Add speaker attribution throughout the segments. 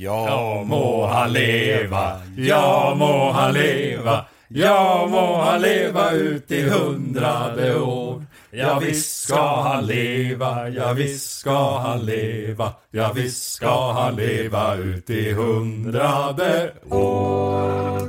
Speaker 1: Ja må han leva, ja må han leva, ja må han leva ut i hundrade år. Ja visst ska han leva, ja visst ska han leva, ja visst ska han leva ut i hundrade år.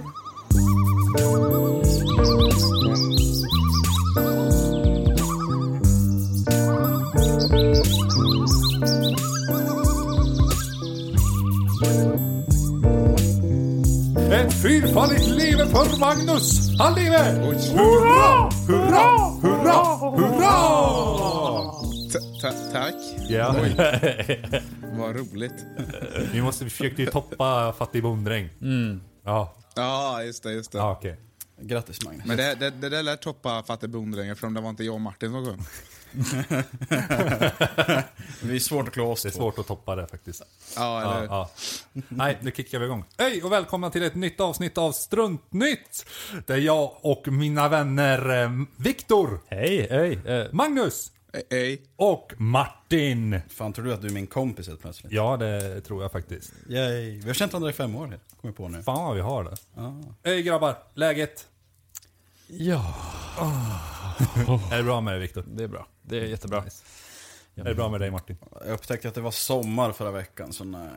Speaker 2: Ett fyrfaldigt leve för Magnus! Han lever! Hurra! Hurra! Hurra! Hurra!
Speaker 3: Ta- ta- tack.
Speaker 2: Ja,
Speaker 3: Vad roligt.
Speaker 2: vi måste vi försökte ju toppa Fattig bonddräng.
Speaker 1: Mm.
Speaker 2: Ja,
Speaker 3: Ja, just det. Just det.
Speaker 2: ja okej.
Speaker 4: Grattis Magnus.
Speaker 3: Men det, det, det där lär toppa Fatte Bonddrängen för det var inte jag och Martin som sjöng.
Speaker 4: Det är svårt att klå oss
Speaker 2: Det är
Speaker 4: två.
Speaker 2: svårt att toppa det faktiskt.
Speaker 3: Ja, eller,
Speaker 2: Ja, ja. Nej, nu kickar vi igång. Hej och välkomna till ett nytt avsnitt av Struntnytt! Där jag och mina vänner eh, Viktor,
Speaker 1: Hej, hej.
Speaker 2: eh. Magnus
Speaker 3: Ej.
Speaker 2: och Martin.
Speaker 4: Fan tror du att du är min kompis helt plötsligt?
Speaker 2: Ja, det tror jag faktiskt.
Speaker 4: Yay. Vi har känt varandra i fem år, kommer jag på nu.
Speaker 2: Fan vad vi har det. Hej grabbar, läget?
Speaker 1: Ja,
Speaker 2: Är det bra med dig Viktor?
Speaker 1: det är bra. Det är jättebra.
Speaker 2: Är det bra med dig Martin?
Speaker 4: Jag upptäckte att det var sommar förra veckan så nej.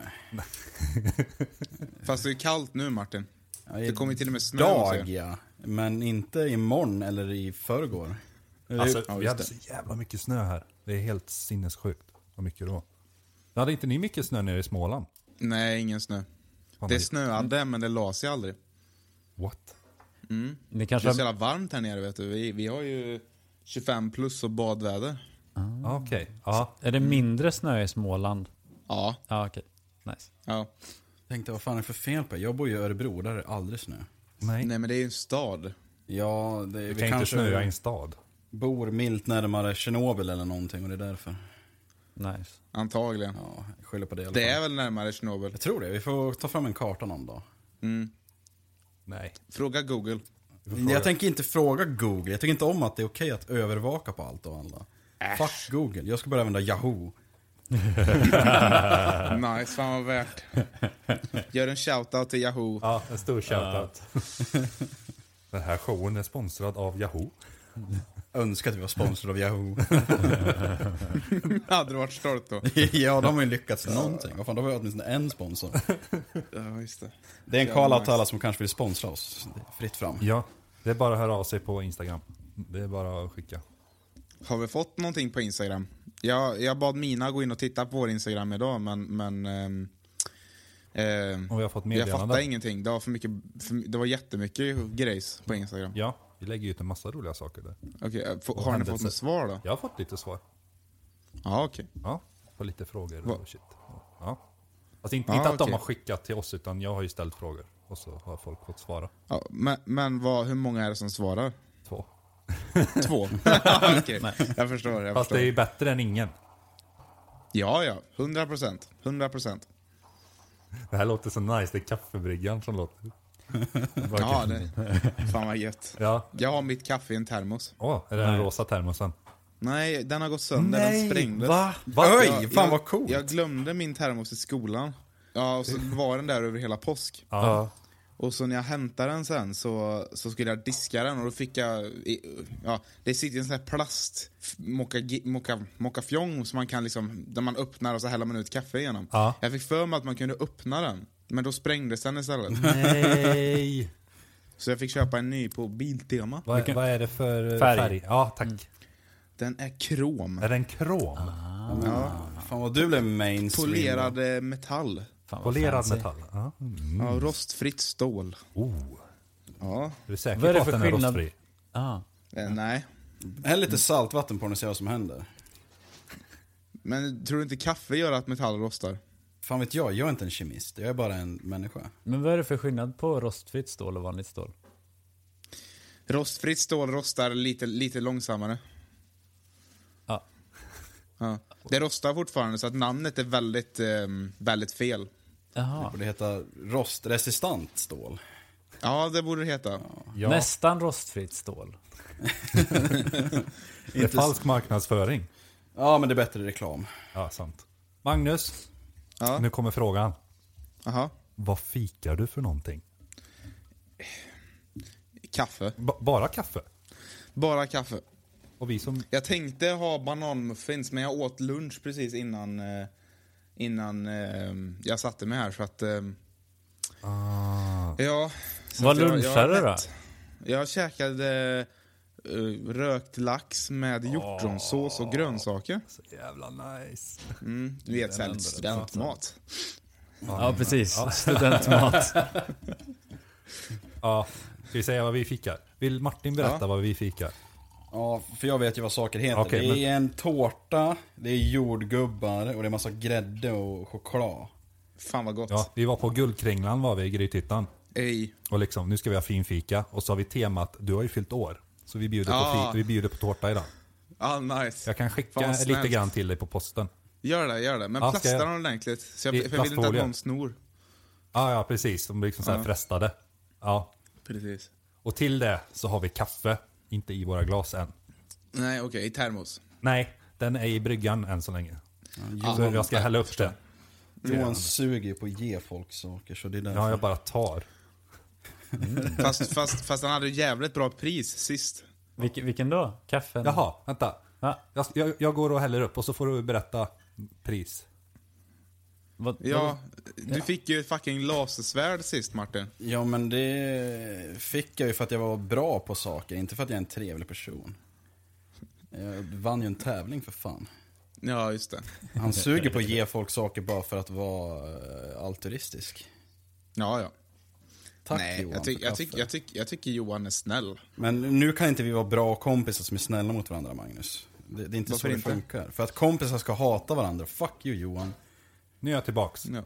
Speaker 3: Fast det är kallt nu Martin.
Speaker 4: Ja, i
Speaker 3: Det kommer ju till och med snö. måste
Speaker 4: Dag
Speaker 3: jag säga.
Speaker 4: ja, men inte imorgon eller i förrgår.
Speaker 2: Alltså,
Speaker 3: ja,
Speaker 2: vi
Speaker 3: just
Speaker 2: hade
Speaker 3: det.
Speaker 2: så jävla mycket snö här. Det är helt sinnessjukt vad mycket det var. Hade inte ni mycket snö nere i Småland?
Speaker 3: Nej, ingen snö.
Speaker 2: Fan,
Speaker 3: Det
Speaker 2: vad-
Speaker 3: snöade men det la sig aldrig.
Speaker 2: What?
Speaker 1: Ni
Speaker 3: Det är
Speaker 1: kanske...
Speaker 3: så jävla varmt här nere vet du. Vi, vi har ju 25 plus och badväder.
Speaker 2: Ah, Okej. Ja.
Speaker 1: Är det mindre snö i Småland?
Speaker 3: Ja.
Speaker 1: Ja, okej. Nice.
Speaker 3: ja.
Speaker 4: Tänkte vad fan är det för fel på det? Jag bor ju i Örebro, där är det aldrig snö.
Speaker 2: Nej.
Speaker 3: Nej men det är ju en stad.
Speaker 4: Ja, det,
Speaker 2: Vi
Speaker 4: vi
Speaker 2: kan inte
Speaker 4: kanske
Speaker 2: snöa i en stad.
Speaker 4: bor milt närmare Tjernobyl eller någonting och det är därför.
Speaker 1: Nice.
Speaker 3: Antagligen.
Speaker 4: Ja, jag skyller på det i alla
Speaker 3: Det
Speaker 4: fall.
Speaker 3: är väl närmare Tjernobyl.
Speaker 4: Jag tror det, vi får ta fram en karta någon dag.
Speaker 2: Nej.
Speaker 3: Fråga Google.
Speaker 4: Jag tänker inte fråga Google. Jag tycker inte om att det är okej att övervaka på allt och alla. Fuck Google. Jag ska börja använda Yahoo.
Speaker 3: Nice, fan vad värt. Gör en shoutout till Yahoo.
Speaker 2: Ja, en stor shoutout. Den här showen är sponsrad av Yahoo.
Speaker 4: Önskar att vi var sponsrade av Yahoo.
Speaker 3: Hade du varit stolt då?
Speaker 4: ja, de har ju lyckats med någonting. Vad fan, då har vi åtminstone en sponsor.
Speaker 3: Ja, just det.
Speaker 4: Det är en
Speaker 3: Ja,
Speaker 4: call out
Speaker 3: nice.
Speaker 4: till alla som kanske vill sponsra oss. Det är fritt fram.
Speaker 2: Ja, det är bara att höra av sig på Instagram. Det är bara att skicka.
Speaker 3: Har vi fått någonting på Instagram? Jag, jag bad Mina gå in och titta på vår Instagram idag, men... men ehm, ehm,
Speaker 2: Och vi har fått
Speaker 3: jag
Speaker 2: meddelanden.
Speaker 3: fattar ingenting. Det var, för mycket, för, det var jättemycket grejs på Instagram.
Speaker 2: Ja, vi lägger ut en massa roliga saker där.
Speaker 3: Okej, eh, få- har ni fått
Speaker 2: händelser.
Speaker 3: något svar då?
Speaker 2: Jag har fått lite svar.
Speaker 3: Ja, okej.
Speaker 2: Ja, på lite frågor
Speaker 3: Va?
Speaker 2: och shit. Ja. Alltså inte,
Speaker 3: Ah,
Speaker 2: inte att de
Speaker 3: okej.
Speaker 2: har skickat till oss, utan jag har ju ställt frågor. Och så har folk fått svara.
Speaker 3: Ja, men men vad, hur många är det som svarar?
Speaker 2: Två.
Speaker 3: Två? Ja, okej. Jag förstår. Jag
Speaker 2: Fast
Speaker 3: förstår.
Speaker 2: det är ju bättre än ingen.
Speaker 3: Ja, ja. 100 procent. 100 procent.
Speaker 2: Det här låter så nice, det är kaffebryggan som låter. Bara
Speaker 3: Ja,
Speaker 2: kaffe.
Speaker 3: det, fan vad gött.
Speaker 2: ja.
Speaker 3: Jag har mitt kaffe i en termos.
Speaker 2: Åh, är det den rosa termosen?
Speaker 3: Nej, den har gått sönder. den sprängdes.
Speaker 4: va?
Speaker 2: Va?
Speaker 4: Oj,
Speaker 3: Jag-
Speaker 4: fan
Speaker 3: jag,
Speaker 4: vad coolt.
Speaker 3: Jag glömde min termos i skolan. Ja, och så var den där över hela påsk.
Speaker 2: Ja.
Speaker 3: Och så när jag hämtade den sen så, så skulle jag diska den och då fick jag... i- Ja, det sitter en sån här plast f- mocka- mocka- mockafjong som man kan liksom... Där man öppnar och så häller man ut kaffe igenom.
Speaker 2: Ja.
Speaker 3: Jag fick för mig att man kunde öppna den. Men då sprängdes den istället.
Speaker 2: Nej!
Speaker 3: Så jag fick köpa en ny på Biltema.
Speaker 2: vad, vad är det för eh,
Speaker 1: Färg. Mm.
Speaker 2: färg? Ja, tack.
Speaker 3: Den är krom.
Speaker 2: Är den krom?
Speaker 1: Ah,
Speaker 4: Fan vad du blev mainstream.
Speaker 3: Polerad eh, metall.
Speaker 1: Fan vad
Speaker 2: Polerad
Speaker 1: fancy.
Speaker 2: metall? Ja.
Speaker 3: Ja, rostfritt stål.
Speaker 2: Mm. Oh.
Speaker 3: Ja,
Speaker 2: Är du säker
Speaker 1: Vad är
Speaker 2: på
Speaker 1: det
Speaker 2: att
Speaker 1: för
Speaker 2: den är
Speaker 1: skillnad?
Speaker 2: rostfri?
Speaker 1: Ah.
Speaker 3: eh, nej.
Speaker 4: Häll lite saltvatten på den och se vad som händer.
Speaker 3: Men tror du inte kaffe gör att metall rostar?
Speaker 4: Fan vet jag, jag är inte en kemist. Jag är bara en människa.
Speaker 1: Men vad är det för skillnad på rostfritt stål och vanligt stål?
Speaker 3: Rostfritt stål rostar lite, lite långsammare.
Speaker 1: Ja.
Speaker 3: Ja. Det rostar fortfarande, så att namnet är väldigt, ehm, väldigt fel.
Speaker 4: Det
Speaker 1: Jaha.
Speaker 4: borde heta rostresistant stål.
Speaker 3: Ja, det borde det heta.
Speaker 2: Ja.
Speaker 1: Nästan rostfritt stål.
Speaker 2: Det är falsk marknadsföring.
Speaker 4: Ja, men det är bättre reklam.
Speaker 2: Ja, sant. Magnus,
Speaker 3: Ja.
Speaker 2: nu kommer frågan.
Speaker 3: Aha.
Speaker 2: Vad fikar du för någonting?
Speaker 3: Kaffe.
Speaker 2: B- bara kaffe?
Speaker 3: Bara kaffe.
Speaker 2: Och vi som...
Speaker 3: Jag tänkte ha bananmuffins, men jag åt lunch precis innan, eh, innan eh, jag satte mig här. Så att, eh,
Speaker 2: Ah.
Speaker 3: ja, så
Speaker 1: Vad
Speaker 3: att jag- jag
Speaker 1: lunchade du då?
Speaker 3: mätt. Jag käkade eh, rökt lax med
Speaker 2: Ah.
Speaker 3: hjortronsås och grönsaker.
Speaker 2: Så jävla nice.
Speaker 3: Mm, du vet, såhär lite studentmat.
Speaker 1: Ja, precis. Studentmat.
Speaker 2: Ja, ska vi säga vad vi fikar? Vill Martin berätta
Speaker 3: Ja.
Speaker 2: vad vi fikar?
Speaker 4: Ja, för jag vet ju vad saker heter.
Speaker 2: Okej,
Speaker 4: det är
Speaker 2: men-
Speaker 4: en tårta, det är jordgubbar och det är massa grädde och choklad.
Speaker 3: Fan vad gott.
Speaker 2: Ja, vi var på Guldkringlan var vi i Grythyttan.
Speaker 3: Ej.
Speaker 2: Och liksom, nu ska vi ha fin fika. Och så har vi temat, du har ju fyllt år. Så vi bjuder,
Speaker 3: Ah.
Speaker 2: på, fi- vi bjuder på tårta idag.
Speaker 3: Ah, nice.
Speaker 2: Jag kan
Speaker 3: Fan,
Speaker 2: skicka
Speaker 3: vad
Speaker 2: lite
Speaker 3: snällt.
Speaker 2: grann till dig på posten.
Speaker 3: Gör det, gör det. Men
Speaker 2: Ja, Ah, ska
Speaker 3: plasta
Speaker 2: jag-
Speaker 3: den ordentligt. Så jag,
Speaker 2: I
Speaker 3: för jag vill inte att
Speaker 2: plastfolie.
Speaker 3: någon snor.
Speaker 2: Ja, ja precis. De blir liksom så här
Speaker 3: Ja.
Speaker 2: frestade. Ja.
Speaker 3: Precis.
Speaker 2: Och till det så har vi kaffe. Inte i våra glas än.
Speaker 3: Nej, okej. I termos.
Speaker 2: Nej, den är i bryggan än så länge.
Speaker 4: Johan,
Speaker 2: Så jag ska hälla upp det.
Speaker 4: Johan suger ju på att ge folk saker så det är därför.
Speaker 2: Ja, jag bara tar.
Speaker 3: Fast, fast, fast han hade ju jävligt bra pris sist.
Speaker 1: Vilken, vilken då? Kaffe?
Speaker 2: Jaha, vänta.
Speaker 1: Va?
Speaker 2: Jag, jag, jag går och häller upp och så får du berätta pris.
Speaker 1: Vad,
Speaker 3: Ja, du fick ju ett fucking lasersvärd sist Martin.
Speaker 4: Ja, men det fick jag ju för att jag var bra på saker, inte för att jag är en trevlig person. Jag vann ju en tävling för fan.
Speaker 3: Ja, just det.
Speaker 4: Han suger på att ge folk saker bara för att vara eh, altruistisk.
Speaker 3: Ja, ja.
Speaker 4: Tack
Speaker 3: Nej,
Speaker 4: Johan
Speaker 3: jag, tyck,
Speaker 4: för
Speaker 3: jag,
Speaker 4: kaffe.
Speaker 3: tyck, jag, tyck, jag tycker Johan är snäll.
Speaker 4: Men nu kan inte vi vara bra kompisar som är snälla mot varandra, Magnus. Det, det är inte
Speaker 3: Varför
Speaker 4: så det
Speaker 3: inte?
Speaker 4: funkar. För att kompisar ska hata varandra. Fuck you Johan.
Speaker 2: Nu är jag tillbaks.
Speaker 3: Ja.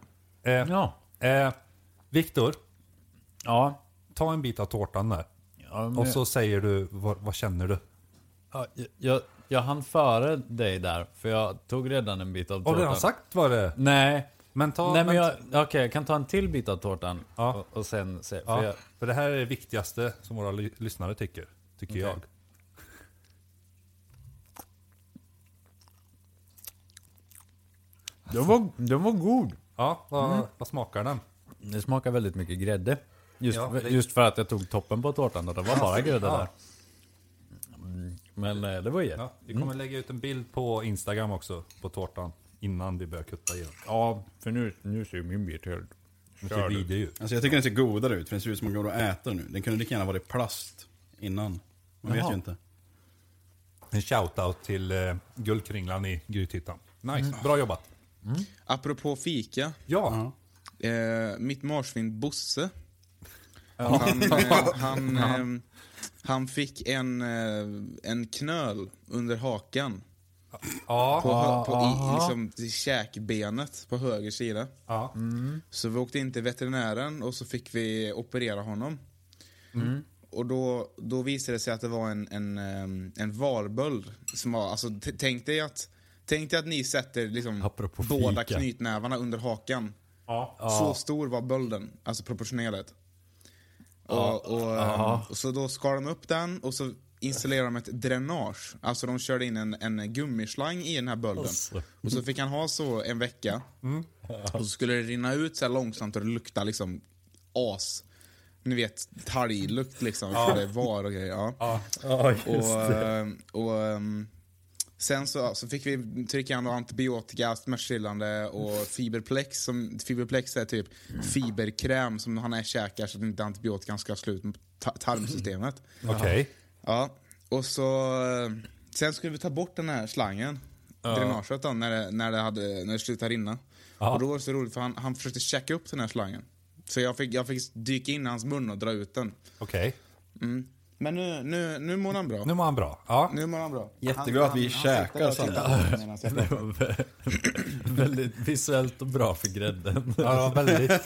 Speaker 2: Eh,
Speaker 1: Ja.
Speaker 2: eh, Viktor,
Speaker 1: Ja.
Speaker 2: ta en bit av tårtan där.
Speaker 1: ja men-
Speaker 2: Och så säger du, vad, vad känner du?
Speaker 1: Ja, jag, jag hann före dig där, för jag tog redan en bit av
Speaker 2: Har
Speaker 1: tårtan.
Speaker 2: du redan sagt vad det är?
Speaker 1: Nej.
Speaker 2: Men ta...
Speaker 1: Nej men
Speaker 2: vänt-
Speaker 1: jag, okej jag kan ta en till bit av tårtan
Speaker 2: Ja.
Speaker 1: och, och sen se. För
Speaker 2: Ja,
Speaker 1: jag,
Speaker 2: för det här är det viktigaste som våra ly- lyssnare tycker. Tycker jag.
Speaker 1: den, var, den var god.
Speaker 2: Ja, vad,
Speaker 1: Mm.
Speaker 2: vad smakar den?
Speaker 1: Det smakar väldigt mycket grädde. Just,
Speaker 2: Ja, det-
Speaker 1: just för att jag tog toppen på tårtan och det var bara grädde
Speaker 2: ja.
Speaker 1: där. Men eh, det var ju
Speaker 2: Ja,
Speaker 1: ja.
Speaker 2: vi kommer lägga ut en bild på Instagram också, på tårtan. Innan vi börjar kutta i den.
Speaker 1: för nu, nu ser min bit helt
Speaker 2: Den ser
Speaker 1: körd ut.
Speaker 2: vidrig ut.
Speaker 4: Alltså jag tycker den ser godare ut, för den ser ut som att den går att äta nu. Den kunde lika gärna varit plast innan. Man vet
Speaker 2: Jaha.
Speaker 4: ju inte.
Speaker 2: En shoutout till eh, Guldkringlan i Grythyttan. Nice, bra jobbat.
Speaker 3: Apropå fika.
Speaker 2: Ja,
Speaker 3: Eh, mitt marsvin Bosse. Han, eh, han, eh, han fick en, eh, en knöl under hakan.
Speaker 2: ja,
Speaker 3: På, hö- på i, liksom, i käkbenet på höger sida.
Speaker 2: ja.
Speaker 3: Så vi åkte in till veterinären och så fick vi operera honom. Och då, då visade det sig att det var en, en, ehm, en varböld. Som var, alltså, t- tänk, dig att, tänk dig att ni sätter liksom
Speaker 1: Apropå
Speaker 3: båda
Speaker 1: fika.
Speaker 3: knytnävarna under hakan.
Speaker 2: ja.
Speaker 3: Så stor var bölden, alltså proportionerligt. Och, och, ehm, så då skar de upp den och så installerade de ett dränage. Alltså de körde in en, en gummislang i den här bölden. Och så fick han ha så en vecka. Och så skulle det rinna ut så här långsamt och det lukta liksom as. Ni vet, talglukt liksom. För det var och grejer. Ja. och, ehm, och, ehm, sen så, så fick vi trycka in antibiotika, smärtstillande och fiberplex. Som, fiberplex är typ fiberkräm som han är käkar så att inte antibiotikan ska slå ut ta- tarmsystemet.
Speaker 2: Okej.
Speaker 3: Ja, och så... eh, Sen skulle vi ta bort den här slangen, dränaget då, när det, när det, hade, när det slutade rinna. Och då var det så roligt för han, han försökte checka upp den här slangen. Så jag fick, jag fick dyka in i hans mun och dra ut den. Mm.
Speaker 2: Okej.
Speaker 3: Men nu, nu, nu mår han bra.
Speaker 2: Nu mår han bra. Ja.
Speaker 3: Nu mår han bra.
Speaker 4: Jättebra att vi käkar
Speaker 3: käkar.
Speaker 1: Det var vä- väldigt visuellt och bra för grädden.
Speaker 2: Ja, det var väldigt.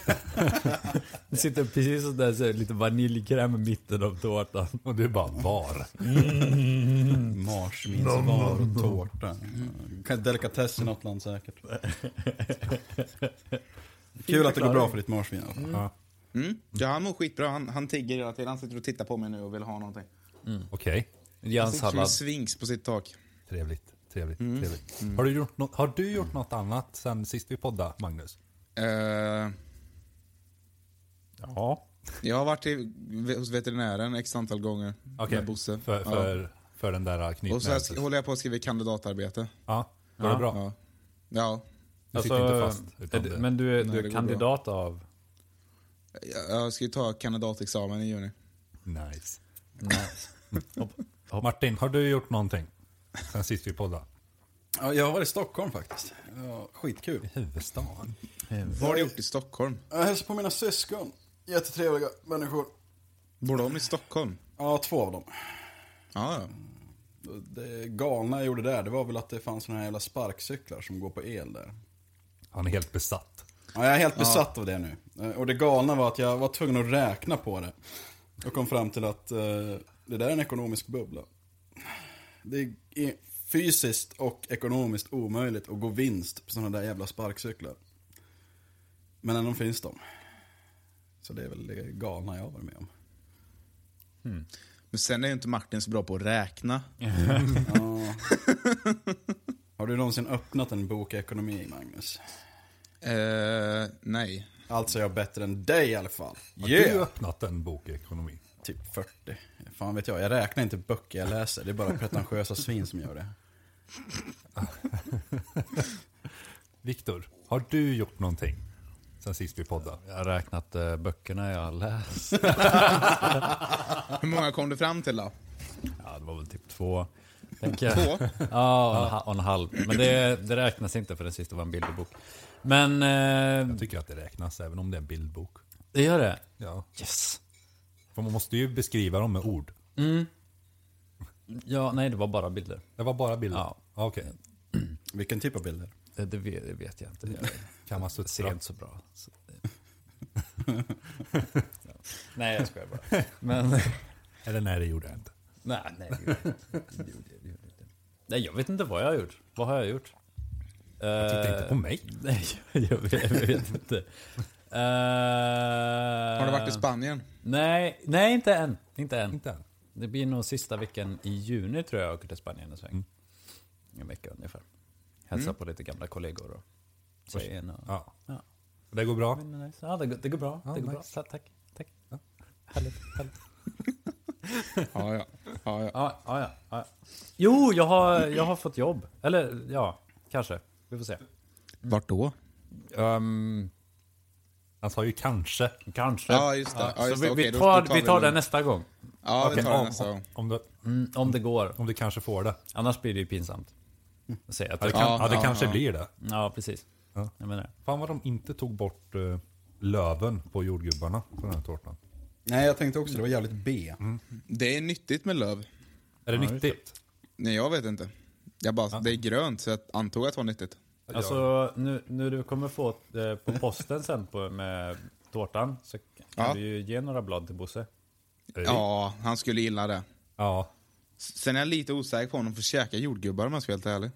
Speaker 1: Det sitter precis sådär så är det lite vaniljkräm i mitten av tårtan.
Speaker 2: Och du bara var.
Speaker 3: Mm.
Speaker 4: Marsvinsvar och tårta. Ja, Delikatess i något land säkert. Kul att det går bra för ditt marsvin. i alla fall.
Speaker 2: Ja.
Speaker 3: Mm? Ja, han mår skitbra. Han, han tigger hela tiden. Han sitter och tittar på mig nu och vill ha någonting.
Speaker 2: Okej.
Speaker 1: Ge en
Speaker 3: Han sitter som en
Speaker 1: sallad.
Speaker 3: svinx på sitt tak.
Speaker 2: Trevligt. Trevligt. Mm. trevligt. Har, du gjort något, har du gjort något annat sen sist vi poddade, Magnus?
Speaker 3: Eh, Jag har varit i, hos veterinären x antal gånger
Speaker 2: Okej,
Speaker 3: med Bosse.
Speaker 2: För,
Speaker 3: ja.
Speaker 2: för, för den där
Speaker 3: Och så här,
Speaker 2: knytnäven.
Speaker 3: sk- håller jag på att skriva kandidatarbete.
Speaker 2: Ja, var det
Speaker 5: Ja.
Speaker 2: bra?
Speaker 3: Ja. ja.
Speaker 2: Du sitter
Speaker 1: Alltså,
Speaker 2: inte fast.
Speaker 5: är
Speaker 2: Utan
Speaker 5: du-
Speaker 2: det,
Speaker 5: men du,
Speaker 3: Nej,
Speaker 5: är- du
Speaker 3: det
Speaker 5: är
Speaker 3: går
Speaker 5: kandidat av...
Speaker 3: Jag- Jag ska ju ta kandidatexamen i juni.
Speaker 2: Nice. Martin, har du gjort någonting sen sist vi poddade?
Speaker 4: Ja, jag har varit i Stockholm faktiskt. Det var skitkul.
Speaker 2: Huvudstaden.
Speaker 3: Vad har du gjort i Stockholm?
Speaker 4: Jag hälsade på mina syskon. Jättetrevliga människor.
Speaker 3: Bor de i Stockholm?
Speaker 4: Ja, två av dem.
Speaker 3: Ja, ja.
Speaker 4: Det galna jag gjorde där, det var väl att det fanns såna här jävla sparkcyklar som går på el där.
Speaker 2: Han är helt besatt.
Speaker 4: Ja, jag är helt besatt av det nu. Eh, Och det galna var att jag var tvungen att räkna på det. Och kom fram till att eh, det där är en ekonomisk bubbla. Det är fysiskt och ekonomiskt omöjligt att gå vinst på sådana där jävla sparkcyklar. Men ändå finns de. Så det är väl det galna jag har varit med om.
Speaker 3: Men sen är ju inte Martin så bra på att räkna.
Speaker 4: Har du någonsin öppnat en bok i ekonomi, Magnus?
Speaker 3: Eh, nej.
Speaker 4: Alltså jag är bättre än dig i alla fall.
Speaker 2: Har du öppnat en bok i ekonomi?
Speaker 4: Typ 40. Fan vet jag, jag räknar inte böcker jag läser. Det är bara pretentiösa svin som gör det.
Speaker 2: Viktor, har du gjort någonting sen sist vi poddade?
Speaker 5: Jag har räknat eh, böckerna jag har läst.
Speaker 3: Hur många kom du fram till då?
Speaker 5: Ja, det var väl typ två. Tänker jag.
Speaker 3: Två?
Speaker 5: Ja, och en, ha- och en halv. Men det, det räknas inte för den sista var en bilderbok. Men eh,
Speaker 2: Jag tycker att det räknas, även om det är en bildbok.
Speaker 5: det gör det.
Speaker 2: Ja.
Speaker 5: Yes.
Speaker 2: För man måste ju beskriva dem med ord.
Speaker 5: Ja, nej, det var bara bilder.
Speaker 2: Det var bara bilder?
Speaker 5: Ja.
Speaker 2: Okej.
Speaker 4: Vilken typ av bilder?
Speaker 5: Det, det, vet, det vet jag inte. Jag
Speaker 2: Kan man
Speaker 5: ser
Speaker 2: suttra?
Speaker 5: inte så bra. Så det- nej, jag skojar bara. Men,
Speaker 2: Eller nej, det gjorde jag inte.
Speaker 5: nej, nej. det gjorde jag inte. Det gjorde jag- det gjorde jag inte. Nej, jag vet inte vad jag har gjort. Vad har jag gjort? Jag
Speaker 2: Titta inte på mig.
Speaker 5: Nej, jag vet, jag vet inte. Eh,
Speaker 3: Har du varit i Spanien?
Speaker 5: Nej, nej inte än. Inte än.
Speaker 2: Inte än.
Speaker 5: Det blir nog sista veckan i juni tror jag jag åker till Spanien en sväng.
Speaker 2: Mm.
Speaker 5: En vecka ungefär. Hälsa på lite gamla kollegor och säger en och...
Speaker 2: Ja.
Speaker 5: Ja.
Speaker 2: Det går bra?
Speaker 5: Men det är nice. Ja, det, går, det går bra.
Speaker 2: Ja,
Speaker 5: det går
Speaker 2: nice.
Speaker 5: bra. Ta- Tack. Tack. Härligt. härligt.
Speaker 3: Ja, ja. ja, ja.
Speaker 5: Ja, ja, ja, ja. Jo, jag har, jag har fått jobb. Eller ja, kanske. Vi får se.
Speaker 3: Vart då?
Speaker 2: Han sa ju kanske.
Speaker 5: Ehm, kanske.
Speaker 3: Ja, just det. Ja, just
Speaker 5: så vi,
Speaker 3: det. Okej,
Speaker 5: vi
Speaker 3: då-
Speaker 5: tar,
Speaker 3: då tar
Speaker 5: vi
Speaker 3: vi
Speaker 5: tar
Speaker 3: det.
Speaker 5: det nästa gång.
Speaker 3: Ja, vi
Speaker 2: Okej,
Speaker 3: tar det
Speaker 2: om-
Speaker 3: nästa gång.
Speaker 2: Om du,
Speaker 5: Mm, om det går.
Speaker 2: om du kanske får det.
Speaker 5: Annars blir det ju pinsamt. Att säga att
Speaker 2: Ja, det,
Speaker 5: jag,
Speaker 2: kan,
Speaker 3: Ja,
Speaker 2: ja, det
Speaker 3: ja,
Speaker 2: kanske
Speaker 3: ja.
Speaker 2: blir det.
Speaker 5: ja, precis.
Speaker 2: Ja.
Speaker 5: Jag menar det.
Speaker 2: Fan vad de inte tog bort eh, löven på jordgubbarna på den här tårtan.
Speaker 4: Nej, jag tänkte också det var jävligt B.
Speaker 3: Det är nyttigt med löv.
Speaker 2: Är det nyttigt?
Speaker 3: Nej, jag vet inte. Jag bara, Det är grönt, så jag antog att det var nyttigt.
Speaker 5: Alltså nu, nu du kommer få eh, på posten sen på, med tårtan så kan
Speaker 3: Ja.
Speaker 5: du ju ge några blad till Bosse.
Speaker 2: Eh,
Speaker 3: Ja, han skulle gilla det.
Speaker 2: ja.
Speaker 3: S- Sen är jag lite osäker på om de får käka jordgubbar om jag ska vara helt ärlig.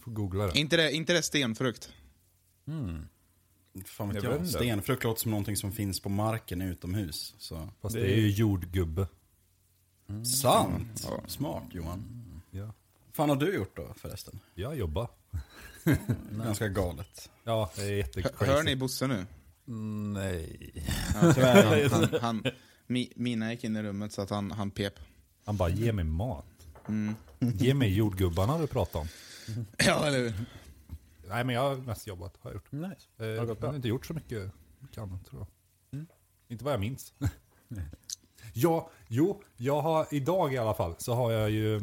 Speaker 2: Får googla det.
Speaker 3: Inte det, inte det stenfrukt.
Speaker 4: Fan vet
Speaker 5: Jag vet
Speaker 4: jag.
Speaker 5: inte.
Speaker 4: Stenfrukt låter som någonting som finns på marken utomhus. Så.
Speaker 2: Fast det är ju jordgubbe.
Speaker 4: Sant!
Speaker 3: Ja.
Speaker 4: Smart Johan.
Speaker 2: Ja.
Speaker 4: fan har du gjort då förresten?
Speaker 2: Jag jobbar.
Speaker 4: Ganska galet.
Speaker 2: Ja, det är
Speaker 3: H- Hör ni
Speaker 2: jättecrazy.
Speaker 3: Bosse nu?
Speaker 5: Nej.
Speaker 3: Han, han, han, mi, mina gick in i rummet så att han, han pep. Mm.
Speaker 2: Han bara, ge mig mat. Ge mig jordgubbarna du pratar om.
Speaker 3: Ja, eller hur?
Speaker 2: Nej, men jag har mest jobbat. Har jag gjort.
Speaker 5: Nice.
Speaker 2: Eh,
Speaker 5: Har det gått
Speaker 2: jag har
Speaker 5: bra? Mm.
Speaker 2: inte gjort så mycket, mycket annat tror jag. Inte vad jag minns. ja, jo, jag har idag i alla fall så har jag ju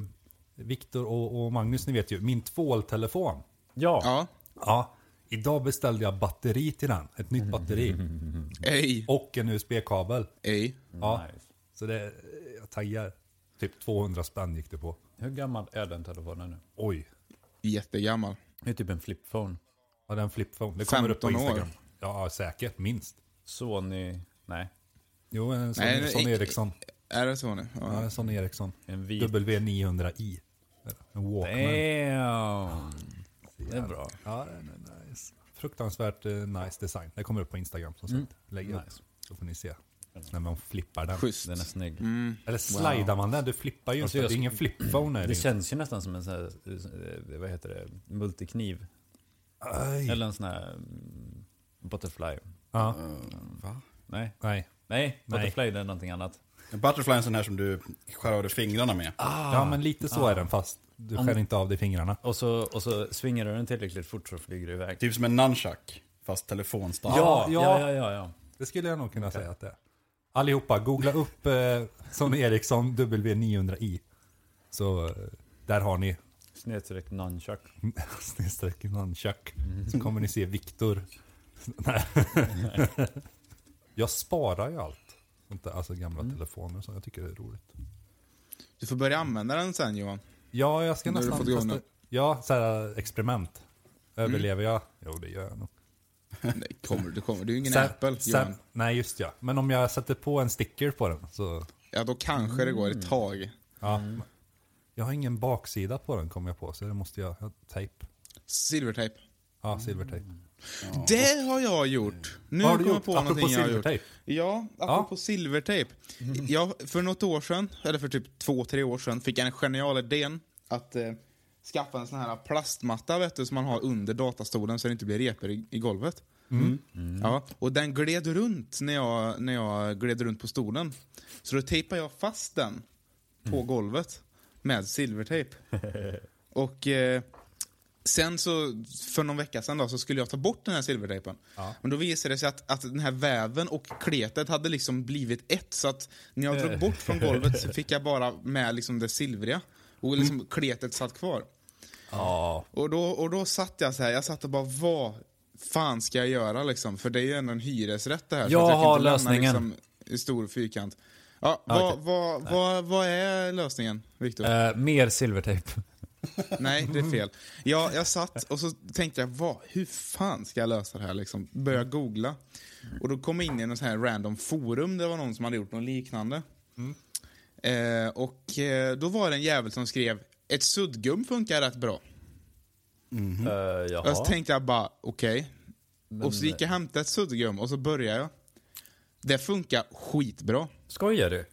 Speaker 2: Viktor och, och Magnus, ni vet ju, min tvåltelefon.
Speaker 5: Ja.
Speaker 3: Ja.
Speaker 2: Ja, idag beställde jag batteri till den. Ett nytt batteri.
Speaker 3: Ej.
Speaker 2: Och en USB-kabel.
Speaker 3: Ej.
Speaker 2: Ja,
Speaker 5: Nice.
Speaker 2: så det, jag taggar. Typ 200 spänn gick det på.
Speaker 5: Hur gammal är den telefonen nu?
Speaker 2: Oj,
Speaker 3: Jättegammal.
Speaker 5: Det är typ en flipphone.
Speaker 2: ja, den flipphone. Det kommer upp på
Speaker 3: 15 år.
Speaker 2: Instagram. Ja, säkert. Minst.
Speaker 5: Sony... Nej.
Speaker 2: Jo, en sån,
Speaker 3: Nej, det-
Speaker 2: en sån Ericsson.
Speaker 3: Är det så nu?
Speaker 2: Ja,
Speaker 3: Ja.
Speaker 2: en sån Ericsson.
Speaker 5: En vit.
Speaker 2: W900i. En Walkman.
Speaker 5: Damn. Det är bra.
Speaker 2: Ja, den är nice. Fruktansvärt eh, nice design. Det kommer upp på Instagram som
Speaker 3: Mm.
Speaker 2: sagt. Lägg upp.
Speaker 5: Nice.
Speaker 2: Så får ni se. När man flippar den.
Speaker 3: Schysst.
Speaker 5: Den är snygg.
Speaker 1: Mm.
Speaker 2: Eller slidar man den? Du flippar ju
Speaker 5: Alltså,
Speaker 2: inte.
Speaker 5: jag
Speaker 2: Det är
Speaker 5: sk-
Speaker 2: ingen flipphone. Är det
Speaker 5: Det
Speaker 2: ju.
Speaker 5: känns ju nästan som en sån här, eh, vad heter det, multikniv.
Speaker 2: Aj.
Speaker 5: Eller en sån här mm, butterfly.
Speaker 2: Ja.
Speaker 4: Eh, Va?
Speaker 5: Nej,
Speaker 2: Nej.
Speaker 1: mm, Nej, Butterfly det är någonting annat.
Speaker 4: Butterfly är en sån här som du skär av dig fingrarna med.
Speaker 5: Ah.
Speaker 2: Ja, men lite så är den fast du skär inte av dig fingrarna.
Speaker 1: Och så, och så svingar du den tillräckligt fort så flyger du iväg.
Speaker 4: Typ som en nunchuck, fast telefonstark.
Speaker 1: Ja, ja,
Speaker 2: ja.
Speaker 1: ja, ja, ja.
Speaker 2: Det skulle jag nog kunna säga att det är. Allihopa, googla upp eh, Sony Ericsson W900i. Så eh, där har ni
Speaker 1: Snedstreck nunchuck.
Speaker 2: snedstreck nunchuck.
Speaker 3: Mm.
Speaker 2: Så kommer ni se Viktor. Nej. jag sparar ju allt. Inte, alltså gamla
Speaker 3: Mm.
Speaker 2: telefoner och så. Jag tycker det är roligt.
Speaker 3: Du får börja använda den sen Johan.
Speaker 2: Ja, jag ska
Speaker 3: Nu Mm. har du
Speaker 2: nästan
Speaker 3: fått igång
Speaker 2: testa.
Speaker 3: det.
Speaker 2: Ja, så här äh, experiment. Överlever jag? Jo, det gör jag nog.
Speaker 3: Nej, kommer du? Kommer. Du är ju ingen
Speaker 2: Sen-
Speaker 3: Apple
Speaker 2: sen,
Speaker 3: Johan.
Speaker 2: nej, just ja. Men om jag sätter på en sticker på den så...
Speaker 3: Ja, då kanske det går ett tag.
Speaker 2: Ja.
Speaker 3: Mm.
Speaker 2: Jag har ingen baksida på den kom jag på, så det måste jag... jag tejp.
Speaker 3: Silvertejp.
Speaker 2: Ja, silvertejp.
Speaker 3: Det har jag gjort. Nu
Speaker 2: Vad har du
Speaker 3: kom jag
Speaker 2: gjort?
Speaker 3: på någonting
Speaker 2: Apropå
Speaker 3: jag har gjort.
Speaker 2: silvertejp?
Speaker 3: Ja, apropå silvertejp. Jag, för något år sedan, eller för typ två, tre år sedan, fick jag den geniala idén att eh, skaffa en sån här plastmatta vet du, som man har under datastolen så det inte blir repor i, i golvet.
Speaker 2: Mm.
Speaker 3: Mm. Ja, och den gled runt när jag, när jag gled runt på stolen. Så då tejpade jag fast den på
Speaker 2: Mm.
Speaker 3: golvet med silvertejp. Och eh, sen så, för någon vecka sedan då, så skulle jag ta bort den här silvertejpen. Men då visade det sig att, att den här väven och kletet hade liksom blivit ett. Så att när jag
Speaker 1: Eh.
Speaker 3: drog bort från golvet så fick jag bara med liksom det silvriga.
Speaker 1: Mm.
Speaker 3: Och liksom kletet satt kvar.
Speaker 1: Ja.
Speaker 3: Och då, och då satt jag så här, jag satt och bara vad fan ska jag göra liksom? För det är ju ändå en hyresrätt det här. så
Speaker 1: Jag
Speaker 3: att kan
Speaker 1: har
Speaker 3: inte lämna,
Speaker 1: lösningen.
Speaker 3: Liksom, i stor fyrkant. Ja, vad,
Speaker 1: okej.
Speaker 3: vad, vad, vad är lösningen, Viktor?
Speaker 1: Eh, mer silvertejp.
Speaker 3: Nej, det är fel. Jag, jag satt och så tänkte jag, vad, hur fan ska jag lösa det här? Liksom, börja googla. Och då kom jag in i någon sån här random forum, det var någon som hade gjort något liknande. Eh, och eh, då var det en jävel som skrev, ett suddgum funkar rätt bra.
Speaker 1: Mm.
Speaker 3: Och så
Speaker 1: jaha.
Speaker 3: tänkte jag bara, okej. Och så gick jag och hämtade ett suddgum och så började jag. Det funkar skitbra.
Speaker 1: Skojar du?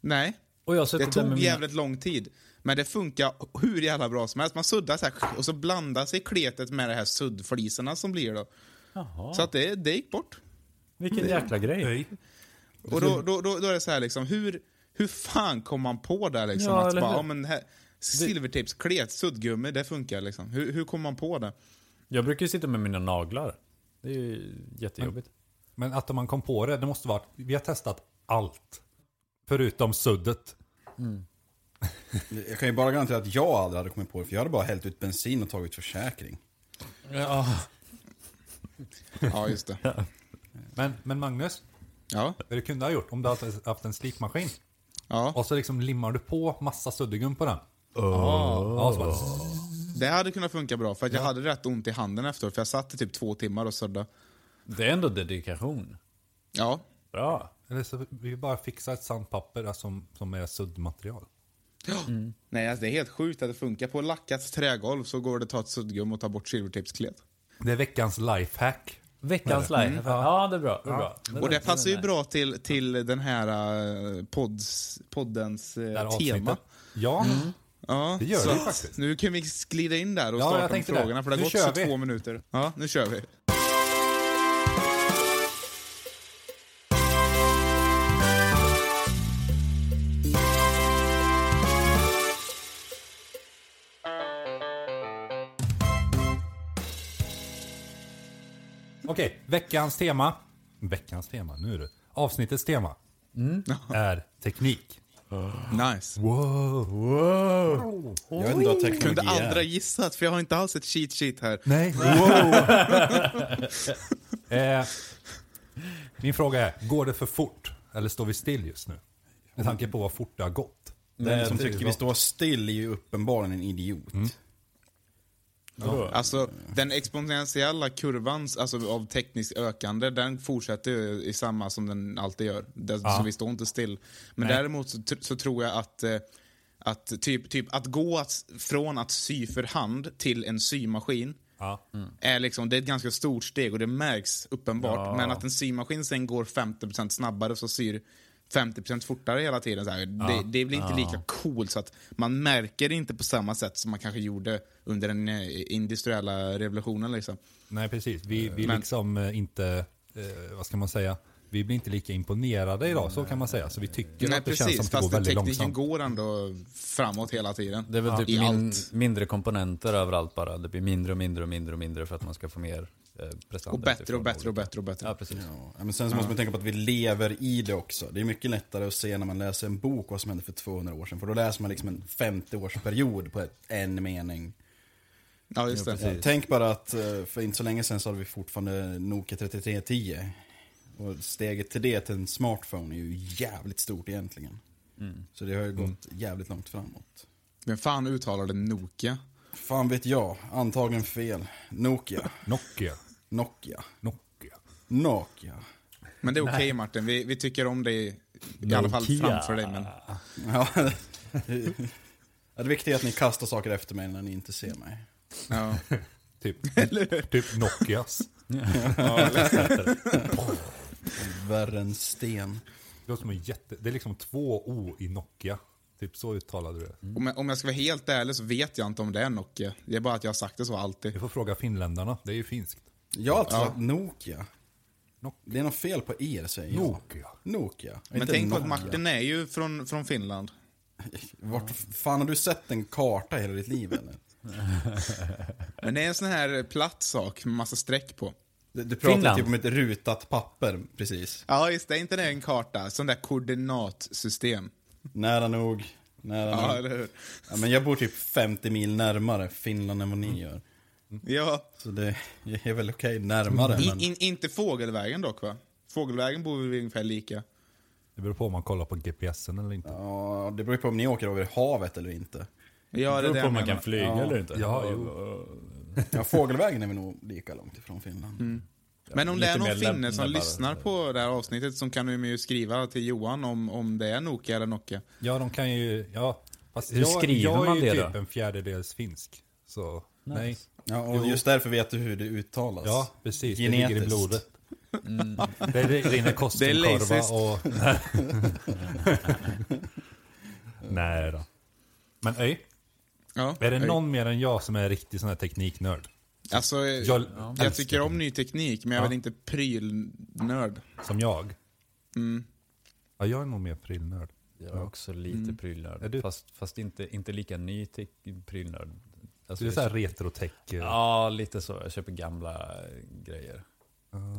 Speaker 3: Nej,
Speaker 1: Och jag har
Speaker 3: det
Speaker 1: suttit där med
Speaker 3: tog
Speaker 1: mina...
Speaker 3: jävligt lång tid. Men det funkar hur jävla bra som helst. Man suddar så här och så blandar sig kletet med de här suddfliserna som blir då.
Speaker 1: Jaha.
Speaker 3: Så att det, det gick bort.
Speaker 1: Vilken jäkla grej.
Speaker 3: Och då, då, då, då är det så här liksom, hur, hur fan kom man på det här liksom?
Speaker 1: Ja,
Speaker 3: att
Speaker 1: eller
Speaker 3: bara,
Speaker 1: hur?
Speaker 3: ja, men det här, silvertejpsklet, suddgummi, det funkar liksom. Hur, hur kom man på det?
Speaker 1: Jag brukar ju sitta med mina naglar. Det är ju jättejobbigt.
Speaker 2: Men att man kom på det, det måste vara att vi har testat allt. Förutom suddet.
Speaker 4: Jag kan ju bara garantera att jag aldrig hade kommit på det, för jag hade bara hällt ut bensin och tagit försäkring.
Speaker 1: Ja.
Speaker 3: Ja, just det.
Speaker 2: Men, men Magnus,
Speaker 3: Ja,
Speaker 2: det du kunde ha gjort om du hade haft en slipmaskin.
Speaker 3: ja.
Speaker 2: Och så liksom limmar du på massa suddgum på den.
Speaker 3: Oh.
Speaker 2: Ja, så bara, zzz.
Speaker 3: Det hade kunnat funka bra för att jag hade rätt ont i handen efteråt för jag satt i typ två timmar och suddade.
Speaker 1: Det är ändå dedikation.
Speaker 3: Ja,
Speaker 1: Bra.
Speaker 2: eller så vi bara fixar ett sandpapper där som, som är suddmaterial. Mm.
Speaker 3: Nej, alltså det är helt sjukt att det funkar. På lackat trägolv så går det att ta ett suddgum och ta bort silvertejpsklet.
Speaker 2: Det är veckans lifehack.
Speaker 1: Veckans live. Ja, det är bra. Det är bra.
Speaker 3: Och det passar ju
Speaker 1: är
Speaker 3: bra till, till den här eh, pods, poddens eh,
Speaker 2: Där
Speaker 3: tema. Mm.
Speaker 2: avsnittet. Ja,
Speaker 3: Ja,
Speaker 2: Det gör
Speaker 3: så
Speaker 2: det
Speaker 3: att
Speaker 2: faktiskt.
Speaker 3: Nu kan vi glida in där och
Speaker 2: Ja, jag
Speaker 3: starta med
Speaker 2: tänkte det.
Speaker 3: frågorna för det har
Speaker 2: Nu
Speaker 3: gått
Speaker 2: kör
Speaker 3: 22
Speaker 2: vi.
Speaker 3: minuter. Ja, nu kör vi.
Speaker 2: okej. Veckans tema. Veckans tema, nu är det. Avsnittets tema.
Speaker 3: Mm.
Speaker 2: Är teknik.
Speaker 3: Nice.
Speaker 2: Wow, wow.
Speaker 4: Jag vet inte vad
Speaker 3: Kunde
Speaker 2: Oh,
Speaker 4: teknologi
Speaker 3: aldrig
Speaker 4: är.
Speaker 3: gissat för jag har inte alls ett cheat sheet här.
Speaker 2: Nej. Wow. eh, min fråga är, går det för fort? Eller står vi still just nu? Med tanke på vad fort det har gått.
Speaker 4: Den som tycker vi står still är ju uppenbarligen en idiot.
Speaker 1: bra.
Speaker 3: Alltså, den exponentiella kurvan alltså, av tekniskt ökande, den fortsätter ju i samma som den alltid gör. Det, Så vi står inte still. Men däremot så, tr- så tror jag att, eh, att typ, typ att gå att, s- från att sy för hand till en symaskin,
Speaker 2: Ja.
Speaker 3: är liksom, det är ett ganska stort steg och det märks uppenbart. Men att en symaskin sen går 50% snabbare så syr 50% fortare hela tiden. Så här, det, det blir inte lika coolt. Så att man märker det inte på samma sätt som man kanske gjorde under den eh, industriella revolutionen. Liksom.
Speaker 2: Nej, precis. Vi, vi
Speaker 3: Men-
Speaker 2: liksom eh, inte, eh, vad ska man säga, vi blir inte lika imponerade idag, så kan man säga. Så vi tycker
Speaker 3: Nej
Speaker 2: att det känns som
Speaker 3: precis,
Speaker 2: att det går
Speaker 3: fast
Speaker 2: väldigt
Speaker 3: tekniken
Speaker 2: långsamt.
Speaker 3: går ändå framåt hela tiden.
Speaker 5: Det är väl typ
Speaker 3: I
Speaker 5: min,
Speaker 3: allt.
Speaker 5: mindre komponenter överallt bara. Det blir mindre och mindre och mindre och mindre för att man ska få mer eh, prestanda.
Speaker 3: Och bättre
Speaker 5: utifrån
Speaker 3: och bättre och
Speaker 5: olika-
Speaker 3: bättre och bättre.
Speaker 5: Ja, precis.
Speaker 4: Ja, men sen så måste man tänka på att vi lever i det också. Det är mycket lättare att se när man läser en bok vad som hände för 200 år sedan. För då läser man liksom en 50-årsperiod på ett, en mening.
Speaker 3: Ja, just det.
Speaker 4: Ja, tänk bara att eh, för inte så länge sedan så hade vi fortfarande Nokia 3310. Och steget till det, till en smartphone, är ju jävligt stort egentligen.
Speaker 3: Mm.
Speaker 4: Så det har ju gått jävligt långt framåt.
Speaker 3: Vem fan uttalade Nokia?
Speaker 4: Fan vet jag, antagligen fel. Nokia,
Speaker 2: Nokia.
Speaker 4: Nokia,
Speaker 2: Nokia.
Speaker 4: Nokia.
Speaker 3: Men det är okej Martin, vi, vi tycker om dig i alla fall
Speaker 5: Nokia.
Speaker 3: framför dig. Men
Speaker 4: Ja. Ja, Det viktiga är att ni kastar saker efter mig när ni inte ser mig.
Speaker 3: Ja.
Speaker 2: Typ, typ Nokias.
Speaker 4: Värre än sten.
Speaker 2: Det, låter som en jätte, det är liksom två O i Nokia. Typ så uttalade du det.
Speaker 3: Om, jag, om jag ska vara helt ärlig så vet jag inte om det är Nokia. Det är bara att jag har sagt det så alltid.
Speaker 2: Du får fråga finländarna, det är ju finskt.
Speaker 4: Jag har alltid sagt Nokia.
Speaker 2: Nokia.
Speaker 4: Det är något fel på er säger
Speaker 2: Nokia.
Speaker 4: jag. Nokia.
Speaker 3: Men
Speaker 4: Inte
Speaker 3: tänk på
Speaker 4: Nokia.
Speaker 3: att Martin är ju från, från Finland.
Speaker 4: Vart fan har du sett en karta hela ditt liv eller?
Speaker 3: Men det är en sån här platt sak med massa streck på.
Speaker 4: Du, du pratar
Speaker 5: Finland.
Speaker 4: typ om ett rutat papper precis.
Speaker 3: Ja, just det. Är inte det en karta? Sån där koordinatsystem.
Speaker 4: Nära nog. Nära
Speaker 3: Ja,
Speaker 4: nog.
Speaker 3: eller hur?
Speaker 4: Ja, men jag bor typ 50 mil närmare Finland än vad ni gör.
Speaker 3: Ja.
Speaker 4: Så det jag är väl okej närmare.
Speaker 3: In,
Speaker 4: men...
Speaker 3: in, inte fågelvägen dock, va? Fågelvägen bor vi ungefär lika.
Speaker 2: Det beror på om man kollar på GPSen eller inte.
Speaker 4: Ja, det beror ju på om ni åker över havet eller inte.
Speaker 3: Ja,
Speaker 5: Det
Speaker 3: det är det
Speaker 5: beror på
Speaker 3: jag
Speaker 5: om man
Speaker 3: menar.
Speaker 5: kan flyga eller inte.
Speaker 2: Ja,
Speaker 5: Och-
Speaker 2: jo.
Speaker 5: och-
Speaker 4: Ja, fågelvägen är vi nog lika långt ifrån Finland.
Speaker 2: Mm.
Speaker 3: Men om det
Speaker 5: lite
Speaker 3: är någon
Speaker 5: mer
Speaker 3: finne
Speaker 5: lämpande
Speaker 3: som
Speaker 5: bara.
Speaker 3: lyssnar på det här avsnittet så kan de ju skriva till Johan om, om det är Nokia eller Nokia.
Speaker 2: Ja, de kan ju... Ja, fast
Speaker 5: Hur
Speaker 2: jag,
Speaker 5: skriver
Speaker 2: jag
Speaker 5: man
Speaker 2: är ju
Speaker 5: det
Speaker 2: typ
Speaker 5: då?
Speaker 2: en fjärdedels finsk. Så, nej.
Speaker 4: Ja, och just därför vet du hur det uttalas.
Speaker 2: Ja, precis. Det ligger i
Speaker 4: Genetiskt.
Speaker 2: blodet.
Speaker 5: Mm.
Speaker 2: Det rinner
Speaker 3: Det är
Speaker 2: Koskenkorva
Speaker 3: lazy.
Speaker 2: och... nej då. Men öj,
Speaker 3: Ja.
Speaker 2: är det någon mer än jag som är riktig sån här tekniknörd?
Speaker 3: Alltså,
Speaker 2: Jag
Speaker 3: jag,
Speaker 2: älskar
Speaker 3: jag tycker om ny teknik, men jag är
Speaker 2: Ja.
Speaker 3: väl inte prylnörd. Mm,
Speaker 2: Som jag? Ja, jag är nog mer prillnörd.
Speaker 5: Jag är också lite
Speaker 1: Mm.
Speaker 5: prylnörd.
Speaker 2: Är du-
Speaker 5: Fast, fast inte, inte lika ny till prylnörd. Alltså,
Speaker 2: Du är
Speaker 5: det-
Speaker 2: så här retrotech. eh,
Speaker 5: Ja, lite så. Jag köper gamla eh, grejer.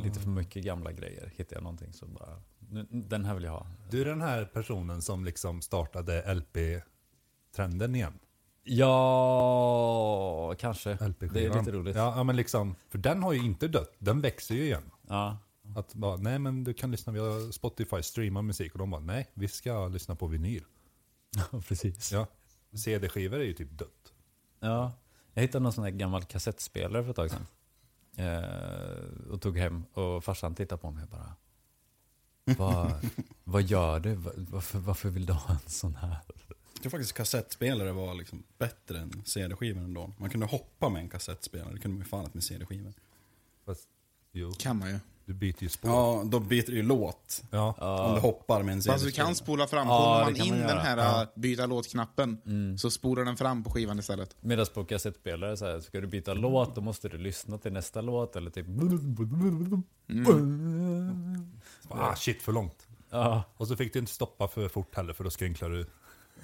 Speaker 5: Lite för mycket gamla grejer. Hittar jag någonting så bara, "Nu- den här vill jag ha.
Speaker 2: Du är den här personen som liksom startade LP-trenden igen.
Speaker 5: Ja, kanske.
Speaker 2: LP-skivan.
Speaker 5: Det är lite roligt. Ja.
Speaker 2: Ja, ja, men liksom, för den har ju inte dött. Den växer ju igen. Att bara, nej men du kan lyssna via Spotify, streama musik. Och de bara, nej vi ska lyssna på vinyl.
Speaker 5: precis. Ja.
Speaker 2: Ja. CD-skivor är ju typ dött.
Speaker 5: Jag hittade någon sån här gammal kassettspelare för ett tag sedan. Eh, och tog hem och farsan tittade på mig och bara. Vad, vad gör du? Va- Varför, varför vill du ha en sån här?
Speaker 4: Jag tror faktiskt kassettspelare var liksom bättre än CD-skivor ändå. Man kunde hoppa med en kassettspelare, det kunde man ju fan inte med CD-skivor.
Speaker 2: Fast, jo,
Speaker 3: Kan man ju.
Speaker 2: du byter ju spår.
Speaker 4: Ja, då byter du ju låt.
Speaker 2: Ja.
Speaker 4: Om du hoppar med en CD-spelare.
Speaker 3: Alltså du kan spola fram.
Speaker 5: Ja,
Speaker 3: Håller
Speaker 5: det
Speaker 3: man
Speaker 5: kan
Speaker 3: in
Speaker 5: man
Speaker 3: den
Speaker 5: göra.
Speaker 3: här äh, byta låt-knappen så spolar den fram på skivan istället.
Speaker 5: Medan på kassettspelare så här, ska du byta låt då måste du lyssna till nästa låt eller typ...
Speaker 2: Mm. Ah shit, för långt.
Speaker 5: Mm. Ja,
Speaker 2: Och så fick du inte stoppa för fort heller för då skrynklar du.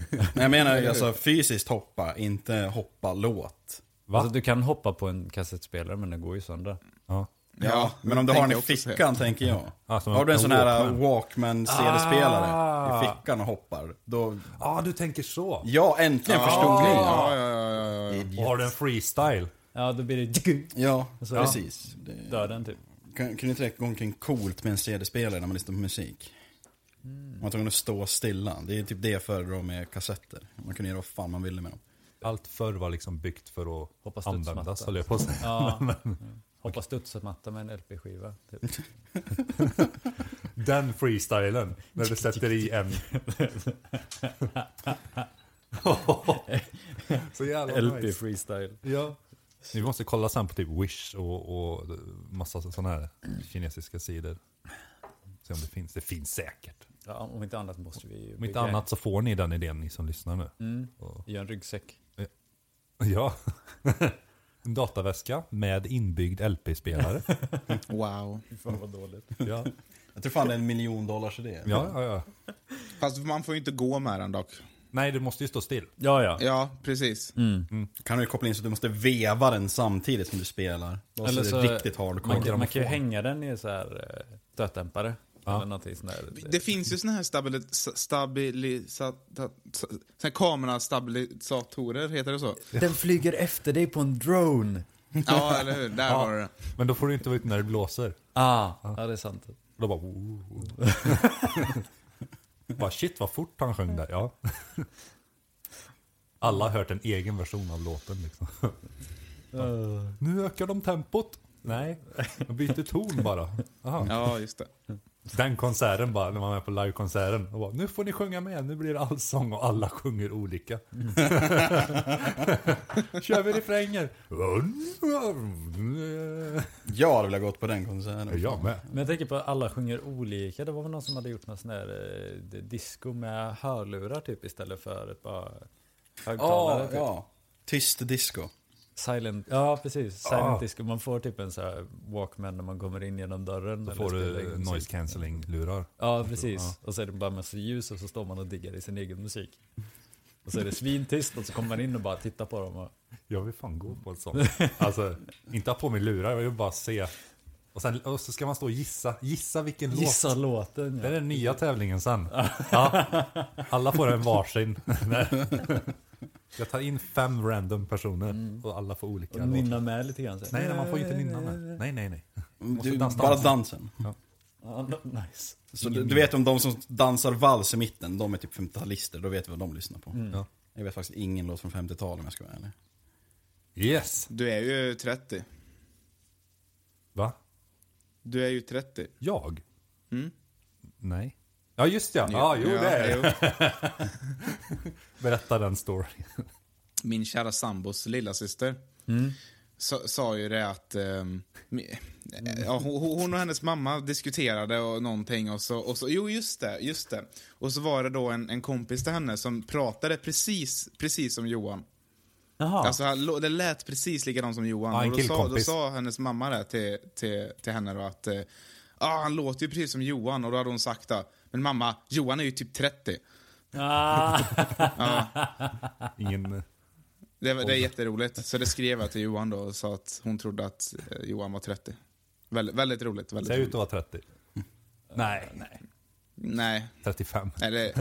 Speaker 4: Nej, jag menar alltså fysiskt hoppa, inte hoppa låt.
Speaker 5: alltså, du kan hoppa på en kassettspelare men den går ju sönder.
Speaker 2: Ja.
Speaker 4: Ja,
Speaker 3: Ja,
Speaker 4: men om du har den i
Speaker 3: tänkte jag också säga.
Speaker 4: fickan tänker jag.
Speaker 2: Ja, som
Speaker 4: har
Speaker 2: en-
Speaker 4: du en
Speaker 2: en
Speaker 4: sån här uh,
Speaker 2: Walkman.
Speaker 4: Walkman CD-spelare
Speaker 2: Ah.
Speaker 4: i fickan och hoppar, då...
Speaker 2: Ja, ah, du tänker så.
Speaker 4: Ja, äntligen förstod ni! Ja,
Speaker 3: Ja, ja, ja, ja, ja.
Speaker 2: Och har du en freestyle?
Speaker 5: Ja, då blir det...
Speaker 2: Alltså,
Speaker 5: Så-
Speaker 4: precis. Det...
Speaker 5: Döden typ.
Speaker 4: Kan- Kunde inte det gå omkring coolt med en CD-spelare när man lyssnar på musik? Man var tvungen att stå stilla. Det är typ det jag föredrar med kassetter. Man kunde göra vad fan man ville med dem.
Speaker 2: Allt förr var liksom byggt för att
Speaker 5: Hoppas du inte
Speaker 2: användas,
Speaker 5: smattar.
Speaker 2: höll jag på att säga.
Speaker 5: Ja. Hoppa studsmatta med en LP-skiva. Typ.
Speaker 2: Den freestylen, när du sätter i en... Så jävla nice.
Speaker 5: freestyle.
Speaker 2: Ja. Vi måste kolla sen på typ Wish och, och massa sådana här kinesiska sidor. Se om det finns. Det finns säkert.
Speaker 5: Ja, om inte annat måste vi ju
Speaker 2: Om inte
Speaker 5: bygga-
Speaker 2: annat så får ni den idén ni som lyssnar nu. Och,
Speaker 5: Göra en ryggsäck.
Speaker 2: ja. En dataväska med inbyggd LP-spelare.
Speaker 3: Wow.
Speaker 5: Fan vad dåligt.
Speaker 2: ja.
Speaker 4: Jag tror fan det är en miljon dollars idé.
Speaker 2: Ja, ja, ja.
Speaker 3: Fast man får ju inte gå med den dock.
Speaker 2: Nej, det måste ju stå still.
Speaker 5: Ja, ja.
Speaker 3: Ja, precis.
Speaker 4: Kan du koppla in så att du måste veva den samtidigt som du spelar? Då Eller så är det alltså, riktigt hardcore.
Speaker 5: Man, kan- man kan ju hänga den i så här eh, stötdämpare. Eller någonting sånt där.
Speaker 3: Det finns ju såna här stabili- stabili- sa- ta- sa- såna här kamerastabilisatorer, heter det så?
Speaker 5: Den flyger efter dig på en drone.
Speaker 3: Ja, eller hur? Där har du det.
Speaker 2: Men då får du inte vara ute när det blåser.
Speaker 5: Ah, ja, det är sant.
Speaker 2: Då bara... bara shit vad fort han sjöng där. Ja. Alla har hört en egen version av låten liksom. Ja. Nu ökar de tempot. Nej, de byter ton bara. Aha.
Speaker 3: Ja, just det.
Speaker 2: Den konserten bara, när man är på livekonserten. och bara, Nu får ni sjunga med, nu blir det allsång och alla sjunger olika. Kör vi refränger.
Speaker 4: Jag hade velat gått på den konserten.
Speaker 2: Jag med.
Speaker 5: Men jag tänker på att alla sjunger olika. Det var väl någon som hade gjort någon sån här eh, d- disco med hörlurar typ istället för ett par högtalare.
Speaker 4: Ja,
Speaker 5: typ.
Speaker 4: ja. Tyst disco.
Speaker 5: Silent, ja precis. Silent
Speaker 2: Ah.
Speaker 5: disco. Man får typ en sån här walkman när man kommer in genom dörren.
Speaker 2: Då
Speaker 5: eller
Speaker 2: får
Speaker 5: spelar
Speaker 2: du
Speaker 5: egen
Speaker 2: noise
Speaker 5: musik.
Speaker 2: cancelling-lurar.
Speaker 5: Ja precis. Och så är det bara massa ljus och så står man och diggar i sin egen musik. Och så är det svintyst och så kommer man in och bara tittar på dem. Och,
Speaker 2: Jag vill fan gå på ett sånt. Alltså, inte ha på mig lurar, jag vill bara se. Och, sen, och så ska man stå och gissa. Gissa vilken
Speaker 5: gissa
Speaker 2: låt.
Speaker 5: låten.
Speaker 2: Det är
Speaker 5: Ja.
Speaker 2: den nya tävlingen sen. Ja. Alla får en varsin. Nej. Jag tar in fem random personer och alla får olika
Speaker 5: Och
Speaker 2: låtar.
Speaker 5: nynna med lite grann. så här.
Speaker 2: Nej, nej, man får ju inte nynna med. Nej, nej, nej.
Speaker 4: Du,
Speaker 2: dansa
Speaker 4: bara
Speaker 2: dansen.
Speaker 4: dansen.
Speaker 5: Ja, no- nice.
Speaker 4: Så du, du vet om de som dansar vals i mitten, de är typ 50-talister, då vet vi vad de lyssnar på.
Speaker 2: Ja.
Speaker 4: Jag vet faktiskt ingen låt från 50-talet om jag ska vara ärlig.
Speaker 2: Yes!
Speaker 3: Du är ju 30.
Speaker 2: Va?
Speaker 3: Du är ju 30.
Speaker 2: Jag? Nej. Ja, just ja. Mm. Ja, jo, det är
Speaker 3: jo.
Speaker 2: Berätta den storyn.
Speaker 3: Min kära sambos lillasyster
Speaker 2: Mm.
Speaker 3: sa, sa ju det att... ehm, mi- eh, ja, hon, hon hon och hennes mamma diskuterade och någonting och så, och så... Jo, just det. just det. Och så var det då en, en kompis till henne som pratade precis, precis som Johan.
Speaker 5: Jaha.
Speaker 3: Alltså, han, lå- det lät precis likadant som Johan.
Speaker 2: Ja, en
Speaker 3: och då, sa, då
Speaker 2: killkompis.
Speaker 3: sa hennes mamma det till, till, till henne då att eh, ah, han låter ju precis som Johan. Och då hade hon sagt då, men mamma, Johan är ju typ 30.
Speaker 5: Ah.
Speaker 2: Ingen...
Speaker 3: Det, var- det är jätteroligt. Så det skrev jag till Johan då och sa att hon trodde att eh, Johan var 30. Väldigt, väldigt roligt. Väldigt
Speaker 2: Säg ut
Speaker 3: roligt.
Speaker 2: att vara 30. Nej, nej.
Speaker 3: Nej,
Speaker 2: 35.
Speaker 3: nej det...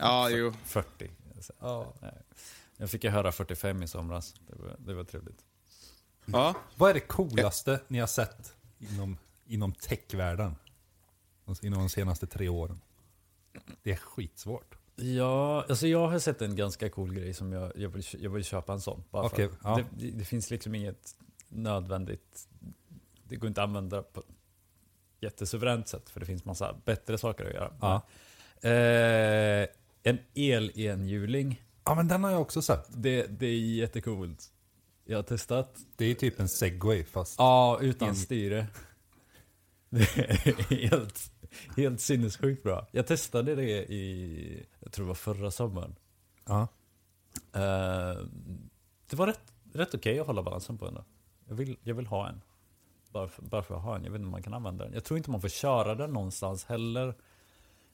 Speaker 3: ja, jo.
Speaker 5: 40. Så, nej. Jag fick ju höra 45 i somras. Det var, det var trevligt.
Speaker 3: Ja.
Speaker 2: Vad är det coolaste ni har sett inom, inom techvärlden? Alltså inom de senaste tre åren? Det är skitsvårt.
Speaker 5: Ja, alltså jag har sett en ganska cool grej som jag, jag, vill, jag vill köpa en sån. Bara för
Speaker 2: Okej,
Speaker 5: att
Speaker 2: ja.
Speaker 5: det, det, det finns liksom inget nödvändigt. Det går inte att använda på ett jättesuveränt sätt för det finns massa bättre saker att göra.
Speaker 2: Ja.
Speaker 5: Eh, en el-enhjuling,
Speaker 2: Ja men den har jag också sett.
Speaker 5: det, det är jättecoolt. Jag har testat.
Speaker 2: Det är typ en segway fast...
Speaker 5: Ja, utan styre. Det är helt, helt sinnessjukt bra. Jag testade det i, jag tror det var förra sommaren.
Speaker 2: Ja.
Speaker 5: Eh, det var rätt, rätt okej att hålla balansen på ändå. Jag vill, jag vill ha en. Bara för, bara för att ha en. Jag vet inte om man kan använda den. Jag tror inte man får köra den någonstans heller.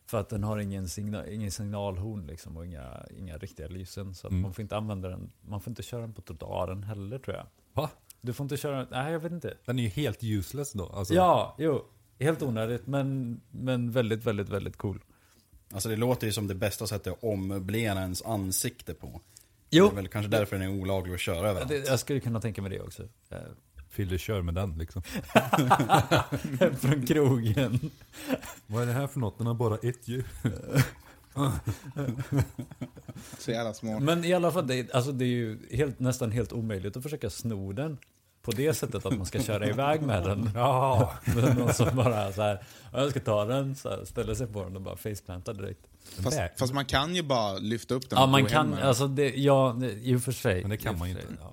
Speaker 5: För att den har ingen, signal, ingen signalhorn liksom och inga, inga riktiga lysen. Så att man får inte använda den. Man får inte köra den på trottoaren heller tror jag.
Speaker 2: Va?
Speaker 5: Du får inte köra den. Nej, jag vet inte.
Speaker 2: Den är ju helt useless då. Alltså,
Speaker 5: Ja, jo. Helt onödigt men, men väldigt, väldigt, väldigt cool.
Speaker 4: Alltså det låter ju som det bästa sättet att ommöblera ens ansikte på.
Speaker 5: Jo.
Speaker 4: Det är väl kanske därför den är olaglig att köra över.
Speaker 5: Det, jag skulle kunna tänka mig det också. Eh,
Speaker 2: Fyller kör med den liksom.
Speaker 5: Från krogen.
Speaker 2: Vad är det här för något? Den har bara ett hjul.
Speaker 3: Så jävla smart.
Speaker 5: Men i alla fall, det, alltså det är ju helt, nästan helt omöjligt att försöka sno den. På det sättet att man ska köra iväg med den.
Speaker 2: Ja.
Speaker 5: Men någon som bara så här, "Ja, jag ska ta den, så här, ställer sig på den och bara faceplantar direkt.
Speaker 3: Fast,
Speaker 2: Bä-
Speaker 3: fast man kan ju bara lyfta upp den
Speaker 5: Ja
Speaker 3: och
Speaker 5: man
Speaker 3: gå hem
Speaker 5: kan,
Speaker 3: med den.
Speaker 5: alltså det, ja, det- i och för sig.
Speaker 2: Men det kan
Speaker 5: I och
Speaker 2: man ju
Speaker 5: för sig,
Speaker 2: inte.
Speaker 5: ja.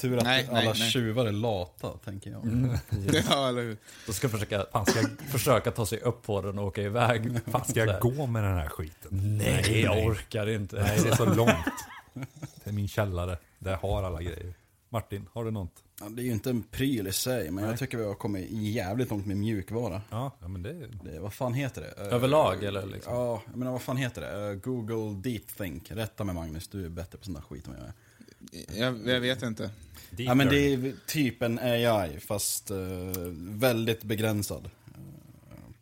Speaker 4: Tur att
Speaker 3: Nej,
Speaker 4: alla
Speaker 3: nej, nej.
Speaker 4: tjuvar är lata, tänker jag.
Speaker 3: Ja, eller hur?
Speaker 5: Då ska försöka,
Speaker 2: Fan ska, jag-
Speaker 5: försöka ta sig upp på den och åka iväg.
Speaker 2: fan ska
Speaker 5: Så
Speaker 2: jag
Speaker 5: här,
Speaker 2: gå med den här skiten?
Speaker 5: Nej, jag orkar inte.
Speaker 2: Nej det är så långt. Det är min källare. Där jag har alla grejer. Martin, har du något?
Speaker 4: Ja, det är ju inte en pryl i sig, men
Speaker 2: Nej.
Speaker 4: jag tycker vi har kommit jävligt långt med mjukvara.
Speaker 2: Ja, ja men det är...
Speaker 4: Det, vad fan heter det? Eh,
Speaker 5: Överlag, eller liksom?
Speaker 4: Ja, jag menar vad fan heter det? Eh, Google DeepThink. Rätta mig Magnus, du är bättre på sån där skit än vad jag är.
Speaker 3: Jag, jag vet inte.
Speaker 4: Ja men det är typ en AI, fast eh, väldigt begränsad. Eh,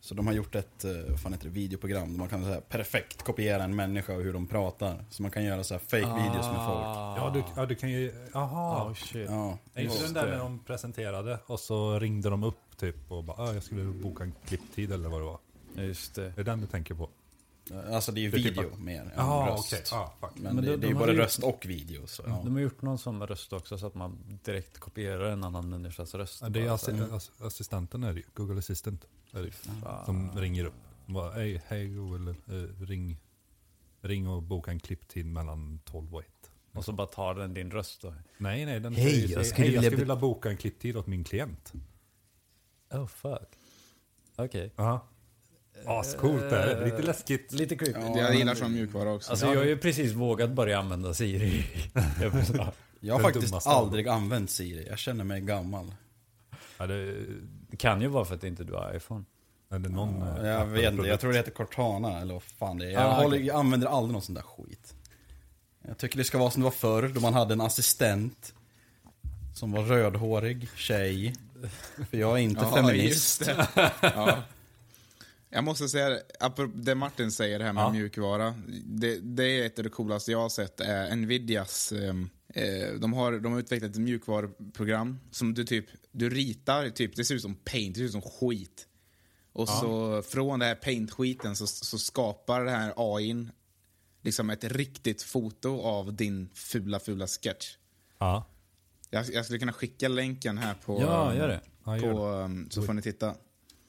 Speaker 4: Så de har gjort ett, eh, vad fan heter det, videoprogram där man kan så här, perfekt kopiera en människa och hur de pratar. Så man kan göra så här fake videos med folk.
Speaker 2: Ja, du, ja, du kan ju... Aha.
Speaker 5: Oh, shit.
Speaker 4: Ja,
Speaker 2: Ah. är inte
Speaker 4: just
Speaker 2: den där
Speaker 4: det.
Speaker 2: när de presenterade och så ringde de upp typ och bara "Ah, jag skulle boka en klipptid eller vad det var.
Speaker 5: Just det.
Speaker 2: Är det den du tänker på?
Speaker 4: Alltså det är ju
Speaker 2: Det är typ
Speaker 4: video
Speaker 2: att-
Speaker 4: mer än
Speaker 2: Jaha,
Speaker 4: röst.
Speaker 2: okej. Ah, fuck.
Speaker 4: Men,
Speaker 5: Men
Speaker 4: det,
Speaker 5: de-
Speaker 4: det är
Speaker 5: de
Speaker 4: ju
Speaker 5: hade
Speaker 4: både
Speaker 5: ju-
Speaker 4: röst och video. Så, ja.
Speaker 5: De har gjort någon sån med röst också, så att man direkt kopierar en annan människas röst.
Speaker 2: Ja, det är
Speaker 5: Bara så här,
Speaker 2: assi- ass- assistenten är det ju. Google Assistant är det ju. Som ringer upp. De Bara, hej, hej Google, eh, ring, ring och boka en klipptid mellan 12 och 1.
Speaker 5: Och så bara tar den din röst då.
Speaker 2: Nej, nej, den
Speaker 5: Hej,
Speaker 2: säger
Speaker 5: jag
Speaker 2: sig,
Speaker 5: skulle
Speaker 2: hej, jag
Speaker 5: vilja
Speaker 2: skulle
Speaker 5: be-
Speaker 2: vilja boka en klipptid åt min klient.
Speaker 5: Oh fuck. Okej.
Speaker 2: Aha. Ascoolt är det. Lite läskigt.
Speaker 5: Lite creepy.
Speaker 3: jag gillar sån mjukvara också.
Speaker 5: Alltså jag har ju precis vågat börja använda Siri. Jag förstår.
Speaker 4: Jag har
Speaker 2: Den
Speaker 4: faktiskt
Speaker 2: dummaste av dem.
Speaker 4: aldrig använt Siri, jag känner mig gammal.
Speaker 2: Ja, det,
Speaker 5: det kan ju vara för att inte du har iPhone.
Speaker 2: är det någon eh,
Speaker 4: Jag
Speaker 2: Apple-produkt?
Speaker 4: vet inte, jag tror det heter Cortana eller vad fan det är. Jag,
Speaker 5: Ah,
Speaker 4: håller,
Speaker 5: okej.
Speaker 4: jag använder aldrig någon sån där skit. Jag tycker det ska vara som det var förr, då man hade en assistent som var rödhårig tjej. För jag är inte
Speaker 3: Ja,
Speaker 4: feminist.
Speaker 3: just det. Ja. Jag måste säga, det, apropå det Martin säger det här med mjukvara. Det, det är ett av det coolaste jag har sett. Är Nvidias, ehm, eh, de, har, de har utvecklat ett mjukvaruprogram som du typ, du ritar, typ, det ser ut som paint, det ser ut som skit. Och så från den här paint-skiten så, så skapar den här AIn liksom ett riktigt foto av din fula, fula sketch.
Speaker 2: Ja.
Speaker 3: Jag, jag skulle kunna skicka länken här på...
Speaker 5: Ja, gör det.
Speaker 2: Ja, gör
Speaker 3: på ehm, så får ni titta.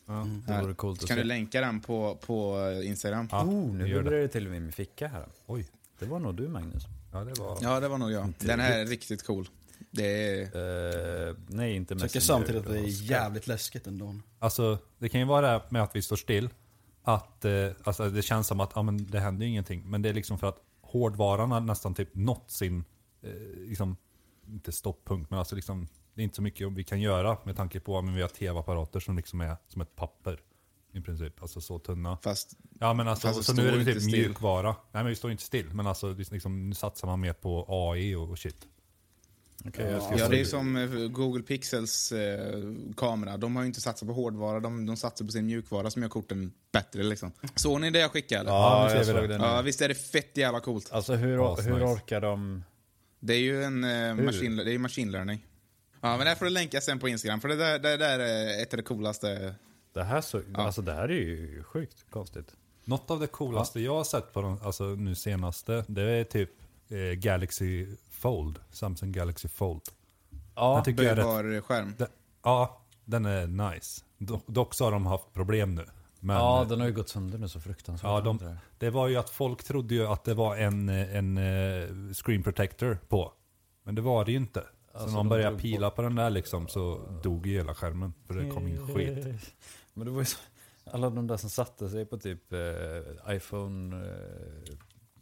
Speaker 3: Mm.
Speaker 5: Det vore coolt att
Speaker 3: kan du
Speaker 5: se.
Speaker 3: länka den på, på eh, Instagram? Ja.
Speaker 2: Ja,
Speaker 5: Oh, nu
Speaker 2: vi gör
Speaker 5: bubblar
Speaker 2: det.
Speaker 5: det till och med i min ficka här.
Speaker 2: Oj.
Speaker 5: Det var nog du Magnus.
Speaker 2: Ja, det var...
Speaker 3: det var nog jag. Den här är riktigt cool. Det är...
Speaker 5: Eh, nej, inte
Speaker 4: Jag tycker samtidigt att det är jävligt läskigt ändå.
Speaker 2: Alltså, det kan ju vara det här med att vi står still. Att eh, alltså, det känns som att ja, men det händer ju ingenting. Men det är liksom för att hårdvaran har nästan typ nått sin, eh, liksom, inte stopppunkt, men alltså liksom, det är inte så mycket vi kan göra med tanke på att vi har tv-apparater som liksom är som ett papper. I princip, alltså så tunna.
Speaker 3: Fast
Speaker 2: Ja men alltså,
Speaker 3: Fast det
Speaker 2: så nu
Speaker 3: står
Speaker 2: är det
Speaker 3: inte
Speaker 2: typ
Speaker 3: still.
Speaker 2: mjukvara. Nej men vi står inte still, men alltså det är liksom, nu satsar man mer på AI och, och shit.
Speaker 3: ja, det är ju som eh, Google Pixels eh, kamera. De har ju inte satsat på hårdvara, de, de satsar på sin mjukvara som gör korten bättre. Liksom. Såg ni det jag skickade? Eller?
Speaker 2: nu ser vi det.
Speaker 3: Ja, visst är det fett jävla coolt?
Speaker 5: Alltså hur,
Speaker 2: Ja,
Speaker 5: hur
Speaker 2: nice.
Speaker 5: orkar de?
Speaker 3: Det är ju en eh, machine, det är ju machine learning. Ja, men det här får du länka sen på Instagram, för det där, det där är ett av det coolaste.
Speaker 5: Det här, så, alltså, det här är ju sjukt konstigt.
Speaker 2: Något av det coolaste jag har sett på de, alltså, nu senaste, det är typ eh, Galaxy Fold. Samsung Galaxy Fold.
Speaker 5: Ja,
Speaker 2: den tycker jag är rätt,
Speaker 3: Böjbar skärm.
Speaker 2: den, Ja, den är nice. Do, dock så har de haft problem nu. Men,
Speaker 5: ja,
Speaker 2: ja,
Speaker 5: den har ju gått sönder nu så fruktansvärt.
Speaker 2: de, det var ju att folk trodde ju att det var en, eh, en eh, screen protector på. Men det var det ju inte. Så när man
Speaker 5: Alltså, de
Speaker 2: började
Speaker 5: drog
Speaker 2: pila på. den där liksom så dog ju hela skärmen. För det kom in skit.
Speaker 5: Men det var ju så, alla de där som satte sig på typ eh, iPhone... Eh,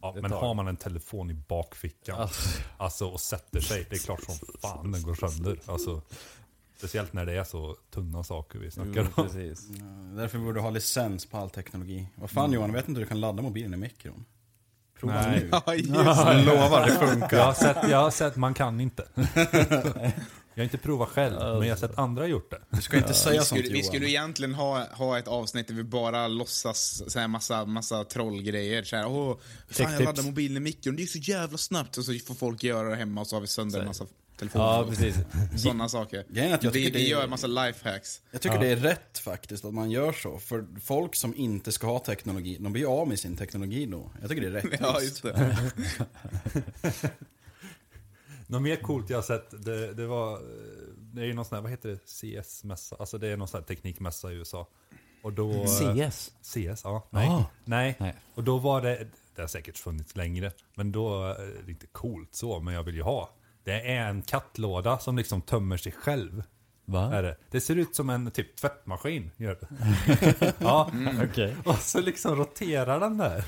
Speaker 2: Ja,
Speaker 5: Ett
Speaker 2: men
Speaker 5: tag.
Speaker 2: har man en telefon i bakfickan
Speaker 5: Alltså.
Speaker 2: alltså, och sätter sig, det är klart som fan den går sönder. Alltså, speciellt när det är så tunna saker vi snackar om.
Speaker 5: precis.
Speaker 4: Eh, Därför borde du ha licens på all teknologi. Vad fan Johan, vet inte hur du kan ladda mobilen i mikron? Prova nu.
Speaker 3: Ja, just
Speaker 4: Jag lovar, det funkar.
Speaker 2: Jag har, sett, jag har sett, man kan inte. Jag har inte provat själv, men jag har sett andra gjort det.
Speaker 4: Du ska inte säga
Speaker 3: vi,
Speaker 4: sånt
Speaker 3: skulle, vi
Speaker 4: Johan.
Speaker 3: skulle egentligen ha, ha ett avsnitt där vi bara låtsas så här massa, massa trollgrejer. Så här, Åh, fan jag
Speaker 5: Tech-tips.
Speaker 3: laddar mobilen i mikron, det gick så jävla snabbt. Och så får folk göra det hemma och så har vi sönder en massa telefoner.
Speaker 5: Ja,
Speaker 3: och
Speaker 5: precis.
Speaker 3: Sådana saker.
Speaker 4: Grejen är att jag
Speaker 3: vi
Speaker 4: tycker
Speaker 3: vi
Speaker 4: det är-
Speaker 3: gör en massa lifehacks.
Speaker 4: Jag tycker det är rätt faktiskt att man gör så. För folk som inte ska ha teknologi, de blir ju av med sin teknologi då. Jag tycker det är rättvist.
Speaker 3: Ja, just det.
Speaker 2: Något mer coolt jag har sett, det, det var... eh, Det är ju någon sån här, vad heter det, CS-mässa? Alltså det är någon sån här teknikmässa i USA. Och då...
Speaker 5: CS?
Speaker 2: CS, ja. Nej.
Speaker 5: Ah.
Speaker 2: Nej.
Speaker 5: Nej.
Speaker 2: Och då var det, det har säkert funnits längre, men då, eh, det är inte coolt så, men jag vill ju ha. Det är en kattlåda som liksom tömmer sig själv.
Speaker 5: Va?
Speaker 2: Är det. det ser ut som en typ tvättmaskin. Gör det. ja,
Speaker 5: Okej.
Speaker 2: och så liksom roterar den där.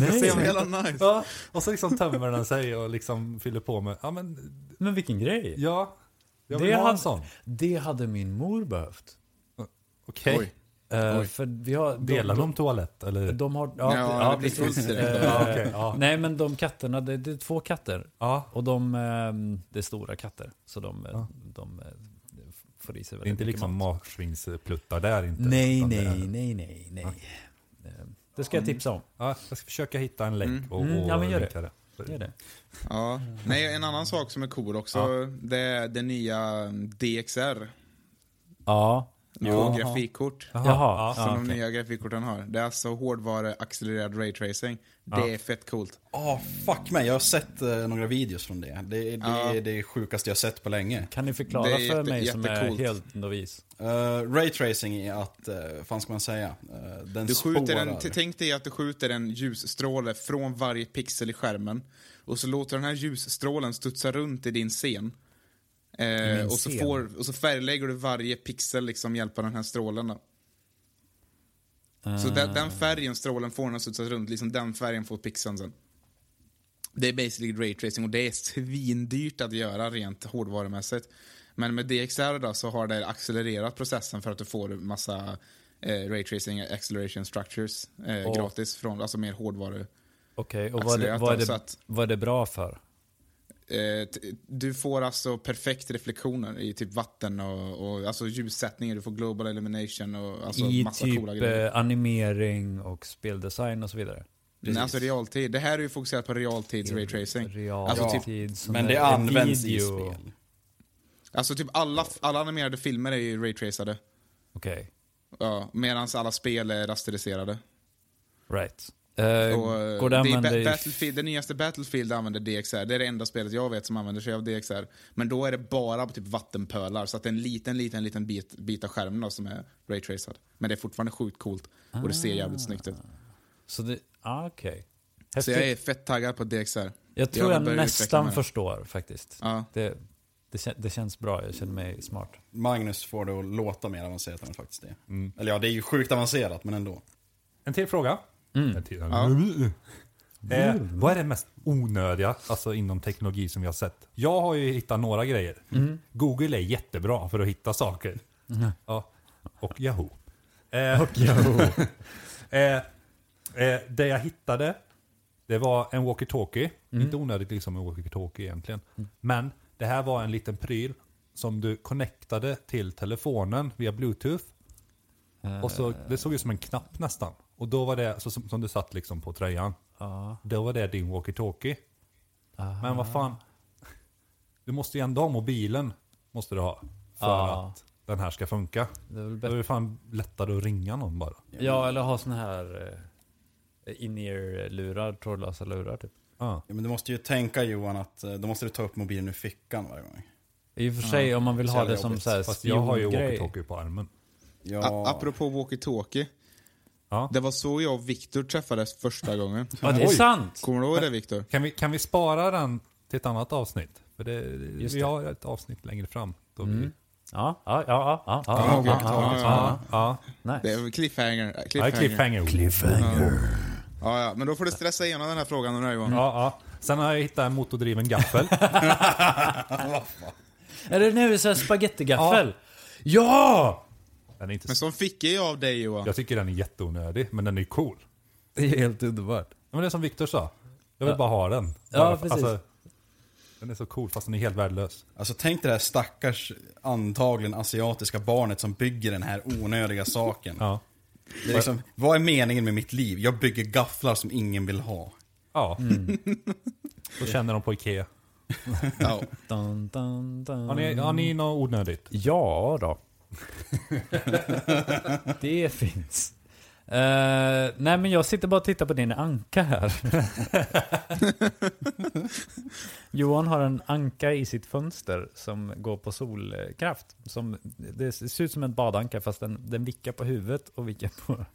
Speaker 3: Det är
Speaker 2: Nej.
Speaker 3: jävla nice.
Speaker 2: Ja, och så liksom tömmer den sig och liksom fyller på med, ja men,
Speaker 5: Men vilken grej.
Speaker 2: ja. Jag vill
Speaker 5: det,
Speaker 2: ha en
Speaker 5: hade,
Speaker 2: sån.
Speaker 5: det hade min mor behövt.
Speaker 2: Okej.
Speaker 3: Oj.
Speaker 5: Eh,
Speaker 3: Oj.
Speaker 5: för vi har...
Speaker 2: Delar de
Speaker 5: de,
Speaker 2: toalett eller?
Speaker 5: de, de har...
Speaker 3: Ja,
Speaker 5: Ja, ja,
Speaker 3: det blir
Speaker 5: precis.
Speaker 3: fullt direkt.
Speaker 5: Eh,
Speaker 2: Ja, okej, ja.
Speaker 5: Nej, men de katterna, det, det är två katter.
Speaker 2: Ja.
Speaker 5: Och de, ehm, det är stora katter. Så de, eh,
Speaker 2: Ja.
Speaker 5: de eh, får i sig
Speaker 2: Det är
Speaker 5: väldigt
Speaker 2: inte
Speaker 5: mycket
Speaker 2: liksom
Speaker 5: mat.
Speaker 2: marsvinspluttar där inte.
Speaker 5: Nej,
Speaker 2: utan det
Speaker 5: nej,
Speaker 2: är-
Speaker 5: nej, nej, nej. Eh, Det ska jag tipsa om.
Speaker 2: Ja, jag ska försöka hitta en länk och, och
Speaker 5: Mm, ja, men gör det.
Speaker 2: linka
Speaker 5: Det är det.
Speaker 3: Ja. Nej, en annan sak som är cool också, det är det nya mm, DXR.
Speaker 5: Ja,
Speaker 3: På grafikkort.
Speaker 5: jaha.
Speaker 2: ja,
Speaker 5: ja,
Speaker 3: Som de
Speaker 5: okej.
Speaker 3: nya grafikkorten har. Det är alltså hårdvaruaccelererad raytracing. Det är fett coolt.
Speaker 4: Ah, fuck mig. Jag har sett eh, några videos från det. Det, det,
Speaker 3: Ja.
Speaker 4: är det sjukaste jag sett på länge.
Speaker 5: Kan ni förklara
Speaker 3: Det är
Speaker 5: för
Speaker 3: jätte-
Speaker 5: mig som är
Speaker 3: jättecoolt.
Speaker 5: helt novis?
Speaker 4: Uh, Raytracing är att, uh, fan ska man säga, Eh, den
Speaker 3: Du skjuter
Speaker 4: spårar.
Speaker 3: en, t- tänk dig att du skjuter en ljusstråle från varje pixel i skärmen. Och så låter den här ljusstrålen studsa runt i din scen. Eh, och, så
Speaker 5: scen?
Speaker 3: får, och så färglägger du varje pixel liksom hjälp av den här strålen. Då. Så den, den färgen strålen får när den studsar runt, liksom den färgen får pixeln sen. Det är basically raytracing och det är svindyrt att göra rent hårdvarumässigt. Men med DXR då så har det accelererat processen för att du får massa eh, raytracing acceleration structures eh,
Speaker 5: Och-
Speaker 3: gratis från, alltså mer hårdvaru.
Speaker 5: Okej, och vad är, det,
Speaker 3: Accelererat
Speaker 5: vad, är
Speaker 3: då, så
Speaker 5: det,
Speaker 3: att-
Speaker 5: vad är det bra för?
Speaker 3: Eh, t- du får alltså perfekt reflektioner i typ vatten och, och alltså ljussättningar, du får global illumination och alltså
Speaker 5: I
Speaker 3: massa
Speaker 5: typ
Speaker 3: coola grejer.
Speaker 5: eh, animering och speldesign och så vidare?
Speaker 3: Nej, alltså realtid. Det här är ju fokuserat på realtids raytracing.
Speaker 5: Realtid,
Speaker 3: Alltså,
Speaker 5: sån
Speaker 4: Men
Speaker 5: där
Speaker 4: det används i
Speaker 5: video.
Speaker 4: spel.
Speaker 3: Alltså typ alla, alla animerade filmer är ju raytracade.
Speaker 5: Okej,
Speaker 3: Ja, Medan alla spel är rasteriserade.
Speaker 5: right. Eh,
Speaker 3: Och, eh,
Speaker 5: går det att
Speaker 3: det, är
Speaker 5: använda
Speaker 3: ba-
Speaker 5: i-
Speaker 3: Battlefield, det nyaste Battlefield använder DXR. Det är det enda spelet jag vet som använder sig av DXR. Men då är det bara på typ vattenpölar. Så att det är en liten, liten, liten bit, bit av skärmen då, som är raytracad. Men det är fortfarande sjukt coolt. Och det ser jävligt snyggt ut.
Speaker 5: Så det, ah, okej.
Speaker 3: Så
Speaker 5: Häftigt.
Speaker 3: jag
Speaker 5: Jag,
Speaker 3: är fett taggad på DXR.
Speaker 5: tror
Speaker 3: vill
Speaker 5: jag,
Speaker 3: börja utveckla
Speaker 5: nästan
Speaker 3: mig.
Speaker 5: förstår faktiskt.
Speaker 3: Ja.
Speaker 5: Det, det, kän- det känns bra, jag känner mig smart.
Speaker 4: Magnus får det att låta mer avancerat än det faktiskt är.
Speaker 3: Mm.
Speaker 4: Eller ja, det är ju sjukt avancerat, men ändå.
Speaker 2: En till fråga. En till. Eh, vad är det mest onödiga alltså inom teknologi som vi har sett? Jag har ju hittat några grejer. Google är jättebra för att hitta saker. Ja. Och Yahoo. Eh, Mm. och Yahoo. eh, eh, det jag hittade, det var en walkie-talkie. Inte onödigt liksom en walkie-talkie egentligen. Men det här var en liten pryl som du connectade till telefonen via bluetooth. Och så, det såg ut som en knapp nästan. Och då var det, så, som, som du satt liksom på tröjan. Då var det din walkie-talkie. Men vad fan. Du måste ju ändå ha mobilen. Måste du ha. För
Speaker 5: Ja.
Speaker 2: att den här ska funka.
Speaker 5: Det är väl
Speaker 2: Då är
Speaker 5: bättre.
Speaker 2: det fan lättare att ringa någon bara.
Speaker 5: Ja, eller ha sån här eh, in-ear-lurar, trådlösa lurar typ.
Speaker 2: Ja.
Speaker 4: Ja, men du måste ju tänka Johan att eh, då måste du ta upp mobilen ur fickan varje gång.
Speaker 5: I och för sig, om man vill
Speaker 4: så
Speaker 5: ha
Speaker 4: jävla
Speaker 5: det som
Speaker 4: jobbigt.
Speaker 5: så här
Speaker 2: Fast jag har ju
Speaker 5: spiongrej.
Speaker 2: walkie-talkie på armen.
Speaker 3: A-
Speaker 4: Ja,
Speaker 3: apropå walkie-talkie.
Speaker 2: Ja.
Speaker 3: Det var så jag och Viktor träffades första gången.
Speaker 5: Ja, det är
Speaker 2: Oj.
Speaker 5: sant!
Speaker 3: Kommer du ihåg det Viktor?
Speaker 2: Kan vi, kan vi spara den till ett annat avsnitt? För det,
Speaker 5: Just
Speaker 2: vi
Speaker 5: det. Mm.
Speaker 2: har ett avsnitt längre fram. Då blir
Speaker 5: Ja, ja, ja, ja, ja,
Speaker 3: Ja,
Speaker 5: ja, ja, ja,
Speaker 3: walkie-talkie.
Speaker 5: ja,
Speaker 2: Ja,
Speaker 5: ja.
Speaker 3: Det
Speaker 5: Nice.
Speaker 3: är cliffhanger.
Speaker 2: ja,
Speaker 3: cliffhanger.
Speaker 2: cliffhanger.
Speaker 3: Ja, ja. Men då får du stressa igenom den här frågan nu då, Johan.
Speaker 2: Ja, ja. Sen har jag hittat en motordriven gaffel.
Speaker 5: Är det nu så här spagettigaffel? Ja!
Speaker 2: Den är inte
Speaker 3: Men
Speaker 2: så...
Speaker 3: som fick jag av dig Johan.
Speaker 2: Jag tycker den är jätteonödig, men den är cool.
Speaker 5: Det är helt underbart.
Speaker 2: Ja, Men det är som Viktor sa. Jag vill
Speaker 5: Ja.
Speaker 2: bara ha den. Bara,
Speaker 5: Ja,
Speaker 2: för-
Speaker 5: precis.
Speaker 2: den är så cool fast den är helt värdelös.
Speaker 4: alltså tänk det här stackars antagligen asiatiska barnet som bygger den här onödiga saken.
Speaker 2: Ja.
Speaker 4: Det är liksom, vad är meningen med mitt liv? Jag bygger gafflar som ingen vill ha.
Speaker 2: Ja.
Speaker 5: Mm.
Speaker 2: Då känner de på Ikea.
Speaker 3: Ja.
Speaker 5: Dun, dun, dun.
Speaker 2: Har ni, har ni något onödigt?
Speaker 5: Mm. Ja då. det finns. Eh, nej men jag sitter bara och tittar på din anka här. Johan har en anka i sitt fönster som går på solkraft. Som, det ser ut som en badanka fast den, den vickar på huvudet och vickar på...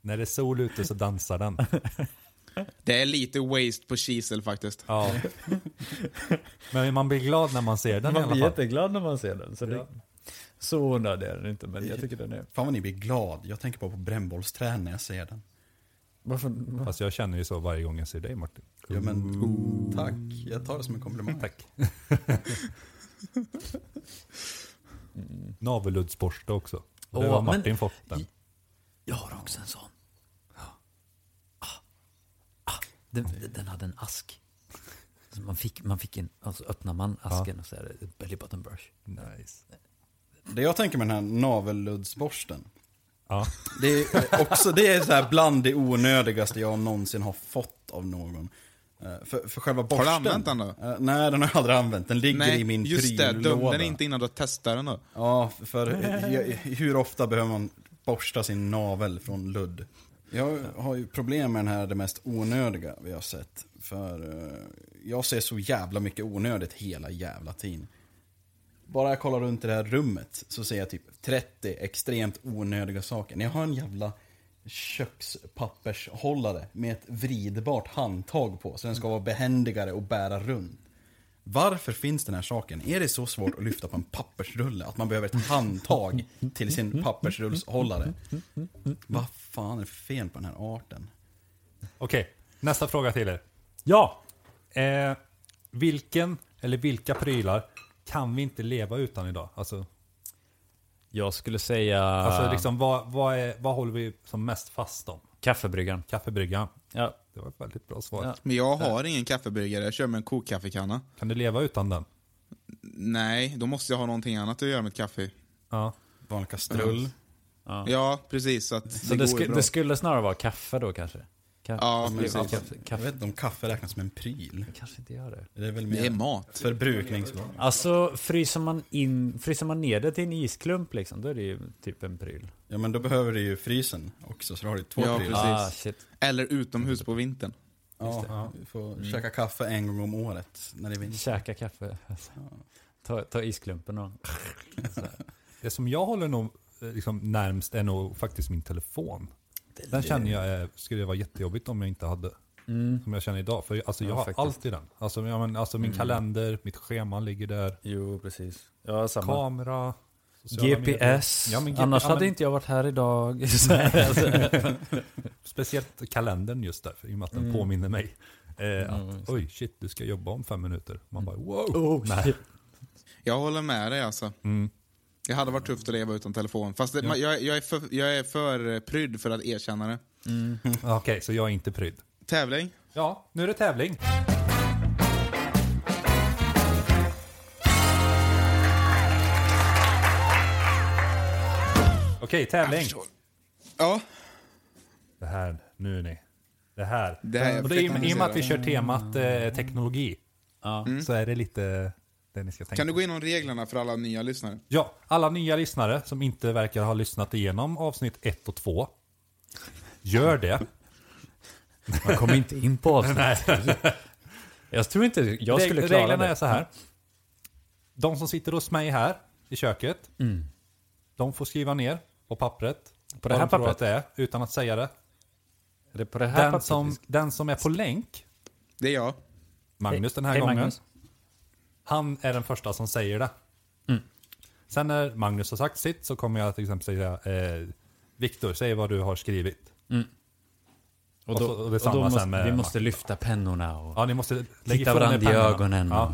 Speaker 2: När det är sol ute så dansar den.
Speaker 3: Det är lite waste på kisel faktiskt.
Speaker 2: Ja. Men man blir glad när man ser den i
Speaker 5: Man
Speaker 2: alla
Speaker 5: blir
Speaker 2: fall.
Speaker 5: jätteglad när man ser den. Så, det, så onödig är den inte men jag tycker den är...
Speaker 4: Fan vad ni blir glad. Jag tänker bara på brännbollsträn när jag ser den.
Speaker 5: Varför?
Speaker 2: Fast jag känner ju så varje gång jag ser dig Martin.
Speaker 4: Ja, men, oh, Tack, jag tar det som en komplimang.
Speaker 2: Tack. Naveluddsborste också. Och det
Speaker 5: Åh,
Speaker 2: har
Speaker 5: men-
Speaker 2: Martin fått den.
Speaker 5: Jag har också en sån. Ja. Ah. Ah. Den, den hade en ask. Så man fick, man fick en, alltså öppnar man asken och så är det belly button brush.
Speaker 2: Nice.
Speaker 4: Det jag tänker med den här navelludsborsten,
Speaker 2: Ja.
Speaker 4: det är också det är så här bland det onödigaste jag någonsin har fått av någon. Eh, För, för själva borsten...
Speaker 3: använt den då?
Speaker 4: Eh, Nej, den har jag aldrig använt. Den ligger i min
Speaker 3: just det. Döm
Speaker 4: pryllåda.
Speaker 3: den inte innan du har testat den då.
Speaker 4: Ja, för jag, hur ofta behöver man borsta sin navel från ludd? Jag har ju problem med den här, det mest onödiga vi har sett. För eh, jag ser så jävla mycket onödigt hela jävla tiden. Bara jag kollar runt i det här rummet så ser jag typ 30 extremt onödiga saker. När jag har en jävla kökspappershållare med ett vridbart handtag på så den ska vara behändigare och bära runt. Varför finns den här saken? Är det så svårt att lyfta på en pappersrulle att man behöver ett handtag till sin pappersrullshållare? Vad fan är det för fel på den här arten?
Speaker 2: Okej, nästa fråga till er. Ja! Eh, vilken eller vilka prylar kan vi inte leva utan idag? Alltså,
Speaker 5: Jag skulle säga
Speaker 2: alltså liksom, vad, vad, är, vad håller vi som mest fast om?
Speaker 5: kaffebryggaren.
Speaker 2: Kaffebryggan.
Speaker 5: Ja.
Speaker 2: Det var ett väldigt bra svar.
Speaker 5: Ja.
Speaker 3: Men jag har ingen kaffebryggare, jag kör med en kokkaffekanna.
Speaker 2: Kan du leva utan den?
Speaker 3: Nej, då måste jag ha någonting annat att göra med ett kaffe.
Speaker 2: Ja.
Speaker 4: Vanlig kastrull.
Speaker 3: Ja, precis. Så, att det
Speaker 5: Så det,
Speaker 3: går ju
Speaker 5: sku,
Speaker 3: bra.
Speaker 5: det skulle snarare vara kaffe då kanske? Ka-
Speaker 3: Ja,
Speaker 5: skulle-
Speaker 3: precis.
Speaker 5: Kaffe,
Speaker 4: Jag
Speaker 5: kaffe.
Speaker 4: vet inte om kaffe räknas som en pryl.
Speaker 5: Kanske inte gör det.
Speaker 4: Det är väl
Speaker 3: det är
Speaker 4: mer
Speaker 3: mat.
Speaker 4: förbrukningsvara.
Speaker 5: Alltså fryser man, in, fryser man ner det till en isklump liksom, då är det ju typ en pryl.
Speaker 4: Ja men då behöver du ju frysen också så då har du två
Speaker 3: Ja,
Speaker 4: prylar.
Speaker 3: precis.
Speaker 5: Ah, shit.
Speaker 3: Eller utomhus på vintern.
Speaker 4: Ja, du får
Speaker 3: Mm.
Speaker 4: käka kaffe en gång om året när det är vinter.
Speaker 5: Käka kaffe. Ta, ta isklumpen och...
Speaker 2: Det som jag håller nog eh, liksom, närmst är nog faktiskt min telefon. Den känner jag eh, skulle vara jättejobbigt om jag inte hade. Som jag känner idag. För alltså, jag
Speaker 5: Mm. Ja,
Speaker 2: har
Speaker 5: faktiskt. Mm.
Speaker 2: alltid den. Alltså, ja, men, alltså min kalender, mitt schema ligger där.
Speaker 5: Jo, precis. Ja, samma.
Speaker 2: Kamera. sociala medier.
Speaker 5: GPS.
Speaker 2: Ja, men G-
Speaker 5: Annars
Speaker 2: ja,
Speaker 5: hade
Speaker 2: men-
Speaker 5: inte jag varit här idag. Så här, alltså.
Speaker 2: Speciellt kalendern just därför, i och med att
Speaker 5: Mm.
Speaker 2: den påminner mig. Eh, att, Oj, shit, du ska jobba om fem minuter. Man bara wow.
Speaker 5: Mm. Oh,
Speaker 2: Nej.
Speaker 3: Jag håller med dig alltså. Det hade varit tufft att leva utan telefon. Fast det, man- jag, jag, är för, jag är för eh, prydd för att erkänna det.
Speaker 2: Okej, så jag är inte prydd.
Speaker 3: Tävling?
Speaker 2: Ja, nu är det tävling. Okej, tävling.
Speaker 3: Ja.
Speaker 2: Det här, nu är ni. Det här.
Speaker 3: Det här-
Speaker 2: och det är, I i och med att vi kör temat eh, teknologi Mm. så är det lite det ni ska tänka
Speaker 3: Kan du gå igenom reglerna för alla nya lyssnare?
Speaker 2: Ja, alla nya lyssnare som inte verkar ha lyssnat igenom avsnitt 1 och 2. Gör det.
Speaker 5: Man kommer inte in på avsnitt tre. Jag tror inte jag skulle
Speaker 2: Reg-
Speaker 5: klara
Speaker 2: reglerna
Speaker 5: det. Mm.
Speaker 2: är så här. De som sitter hos mig här i köket, de får skriva ner på pappret
Speaker 5: Mm. På det här
Speaker 2: vad de tror
Speaker 5: pappret?
Speaker 2: att det är, utan att säga det.
Speaker 5: Är det på det här
Speaker 2: Den
Speaker 5: pappret vi
Speaker 2: som,
Speaker 5: ska-
Speaker 2: den som är på länk,
Speaker 3: Det är jag.
Speaker 2: Magnus den här
Speaker 5: Hej,
Speaker 2: gången,
Speaker 5: Magnus.
Speaker 2: han är den första som säger det.
Speaker 5: Mm.
Speaker 2: Sen när Magnus har sagt sitt så kommer jag till exempel säga eh, Viktor, säg vad du har skrivit.
Speaker 5: Mm.
Speaker 2: och
Speaker 5: Och, då,
Speaker 2: så- och
Speaker 5: och
Speaker 2: detsamma
Speaker 5: då måste,
Speaker 2: sen med-
Speaker 5: vi måste lyfta pennorna och
Speaker 2: Ja, ni måste lägga
Speaker 5: titta
Speaker 2: ifrån er
Speaker 5: varandra i
Speaker 2: pennorna.
Speaker 5: ögonen.
Speaker 2: Ja,
Speaker 5: och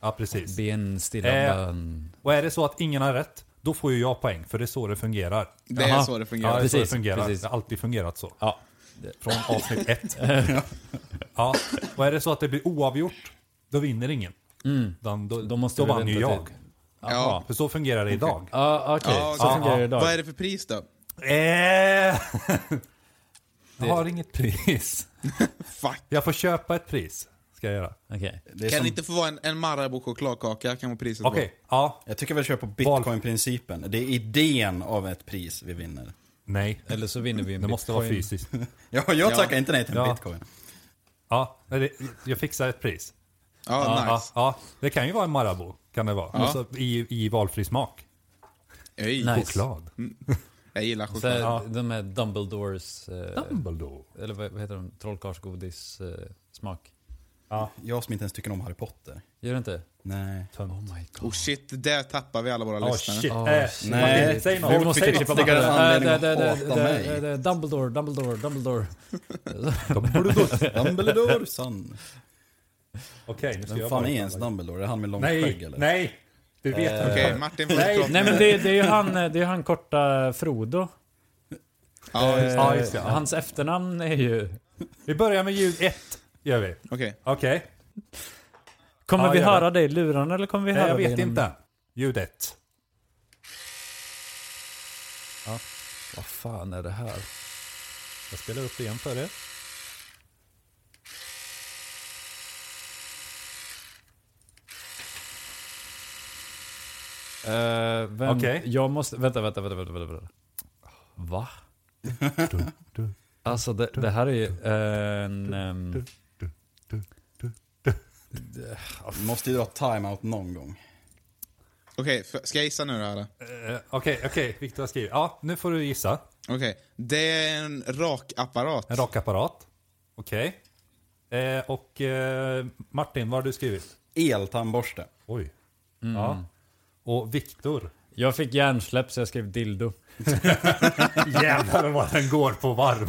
Speaker 2: ja precis.
Speaker 5: Be en stilla
Speaker 2: Eh,
Speaker 5: bön.
Speaker 2: Och är det så att ingen har rätt, då får ju jag poäng, för det är så det fungerar.
Speaker 3: Det är
Speaker 5: Jaha.
Speaker 3: så det
Speaker 2: Ja,
Speaker 3: fungerar.
Speaker 2: det är så det
Speaker 5: precis,
Speaker 2: fungerar.
Speaker 5: precis.
Speaker 2: Det har alltid fungerat så.
Speaker 5: Ja.
Speaker 2: Från avsnitt ett. ja. Och är det så att det blir oavgjort, då vinner ingen. Utan Då,
Speaker 5: Mm. Då måste
Speaker 2: då
Speaker 5: vi
Speaker 2: vann ju
Speaker 5: vänta
Speaker 2: jag.
Speaker 5: till-
Speaker 3: Ja.
Speaker 2: För så fungerar det idag.
Speaker 5: Ja, okej.
Speaker 3: Ja,
Speaker 5: Så
Speaker 3: ja,
Speaker 5: fungerar det
Speaker 3: Vad är
Speaker 5: idag.
Speaker 3: det för pris då?
Speaker 2: Eh, jag har inget pris.
Speaker 3: Fuck.
Speaker 2: Jag får köpa ett pris. Ska jag göra.
Speaker 5: Okej.
Speaker 4: Det är
Speaker 3: Kan
Speaker 4: som,
Speaker 3: det inte få vara en, en Marabou chokladkaka? Kan vara priset
Speaker 2: Okej,
Speaker 3: på.
Speaker 2: ja.
Speaker 4: Jag tycker vi kör på
Speaker 2: Val-
Speaker 4: bitcoin-principen. Det är idén av ett pris vi vinner.
Speaker 2: Nej.
Speaker 5: Eller så vinner vi en
Speaker 2: Det måste vara
Speaker 5: bitcoin.
Speaker 2: fysiskt.
Speaker 4: Ja, jag tackar inte nej till en
Speaker 2: Ja.
Speaker 4: bitcoin.
Speaker 2: Ja, nej, det- jag fixar ett pris.
Speaker 3: Ja,
Speaker 2: Ja,
Speaker 3: nice.
Speaker 2: ja, det kan ju vara en Marabou. Kan det vara. Alltså, i, I valfri smak.
Speaker 3: Öj,
Speaker 5: Nej. Nice. Mm.
Speaker 2: Choklad.
Speaker 3: Jag gillar
Speaker 5: Så
Speaker 3: choklad.
Speaker 5: här, De här Dumbledores... Eh,
Speaker 2: Dumbledore.
Speaker 5: eller vad vad heter de? Trollkarlsgodis eh, smak.
Speaker 2: Ja.
Speaker 4: Jag som inte ens tycker om Harry Potter.
Speaker 5: Gör det inte?
Speaker 4: Nej.
Speaker 5: Oh my god.
Speaker 3: Oh shit, där tappar vi alla våra
Speaker 2: Åh
Speaker 3: lyssnare.
Speaker 2: shit.
Speaker 5: Åh,
Speaker 2: Eh,
Speaker 5: shit.
Speaker 2: Martin, säg
Speaker 4: Vi
Speaker 2: något.
Speaker 4: måste
Speaker 2: säg
Speaker 4: klippa
Speaker 2: något.
Speaker 4: bort det.
Speaker 5: Äh,
Speaker 4: anledning
Speaker 5: det-
Speaker 4: att
Speaker 5: det- det-
Speaker 4: hata
Speaker 5: det-
Speaker 4: mig.
Speaker 5: det- det- Dumbledore, Dumbledore, Dumbledore.
Speaker 4: Dumbledore, Dumbledore son.
Speaker 2: Okej, nu ska
Speaker 4: Vem
Speaker 2: jag
Speaker 4: fan
Speaker 2: bara-
Speaker 4: är ens Dumbledore? Är han med långt skägg
Speaker 2: Nej,
Speaker 4: eller? Eh,
Speaker 2: nej. Du vet inte.
Speaker 3: Okej, Martin får
Speaker 2: Nej.
Speaker 3: ett brott.
Speaker 5: Nej men det, det är ju han, det är ju han korta Frodo. Eh,
Speaker 3: Ja, just-
Speaker 2: Ja, just det, ja.
Speaker 5: Hans efternamn är ju...
Speaker 2: Vi börjar med ljud ett. Gör vi.
Speaker 3: Okej.
Speaker 2: Okej.
Speaker 5: Kommer
Speaker 2: Ja,
Speaker 5: vi
Speaker 2: gör det.
Speaker 5: höra dig i luren eller kommer vi höra
Speaker 2: Nej, jag
Speaker 5: dig
Speaker 2: vet
Speaker 5: genom-
Speaker 2: inte. Ljud ett.
Speaker 5: Vad fan är det här?
Speaker 2: Jag spelar upp det igen för er.
Speaker 5: Eh, vem,
Speaker 2: Okej.
Speaker 5: Jag måste... Vänta, vänta, vänta. vänta, vänta. vänta. Va? Alltså det, det här är ju en... ehm,
Speaker 4: Vi måste ju dra timeout någon gång.
Speaker 3: Okej, för- ska jag gissa nu då eller?
Speaker 2: Eh, Okej, okej. Viktor har skrivit. Ja, nu får du gissa.
Speaker 3: Okej, det är en rakapparat.
Speaker 2: En rakapparat. Okej. Eh, och eh, Martin, vad har du skrivit?
Speaker 4: Eltandborste.
Speaker 2: Oj. Ja. Och Viktor.
Speaker 5: Jag fick hjärnsläpp så jag skrev dildo.
Speaker 2: Jävlar vad den går på varv.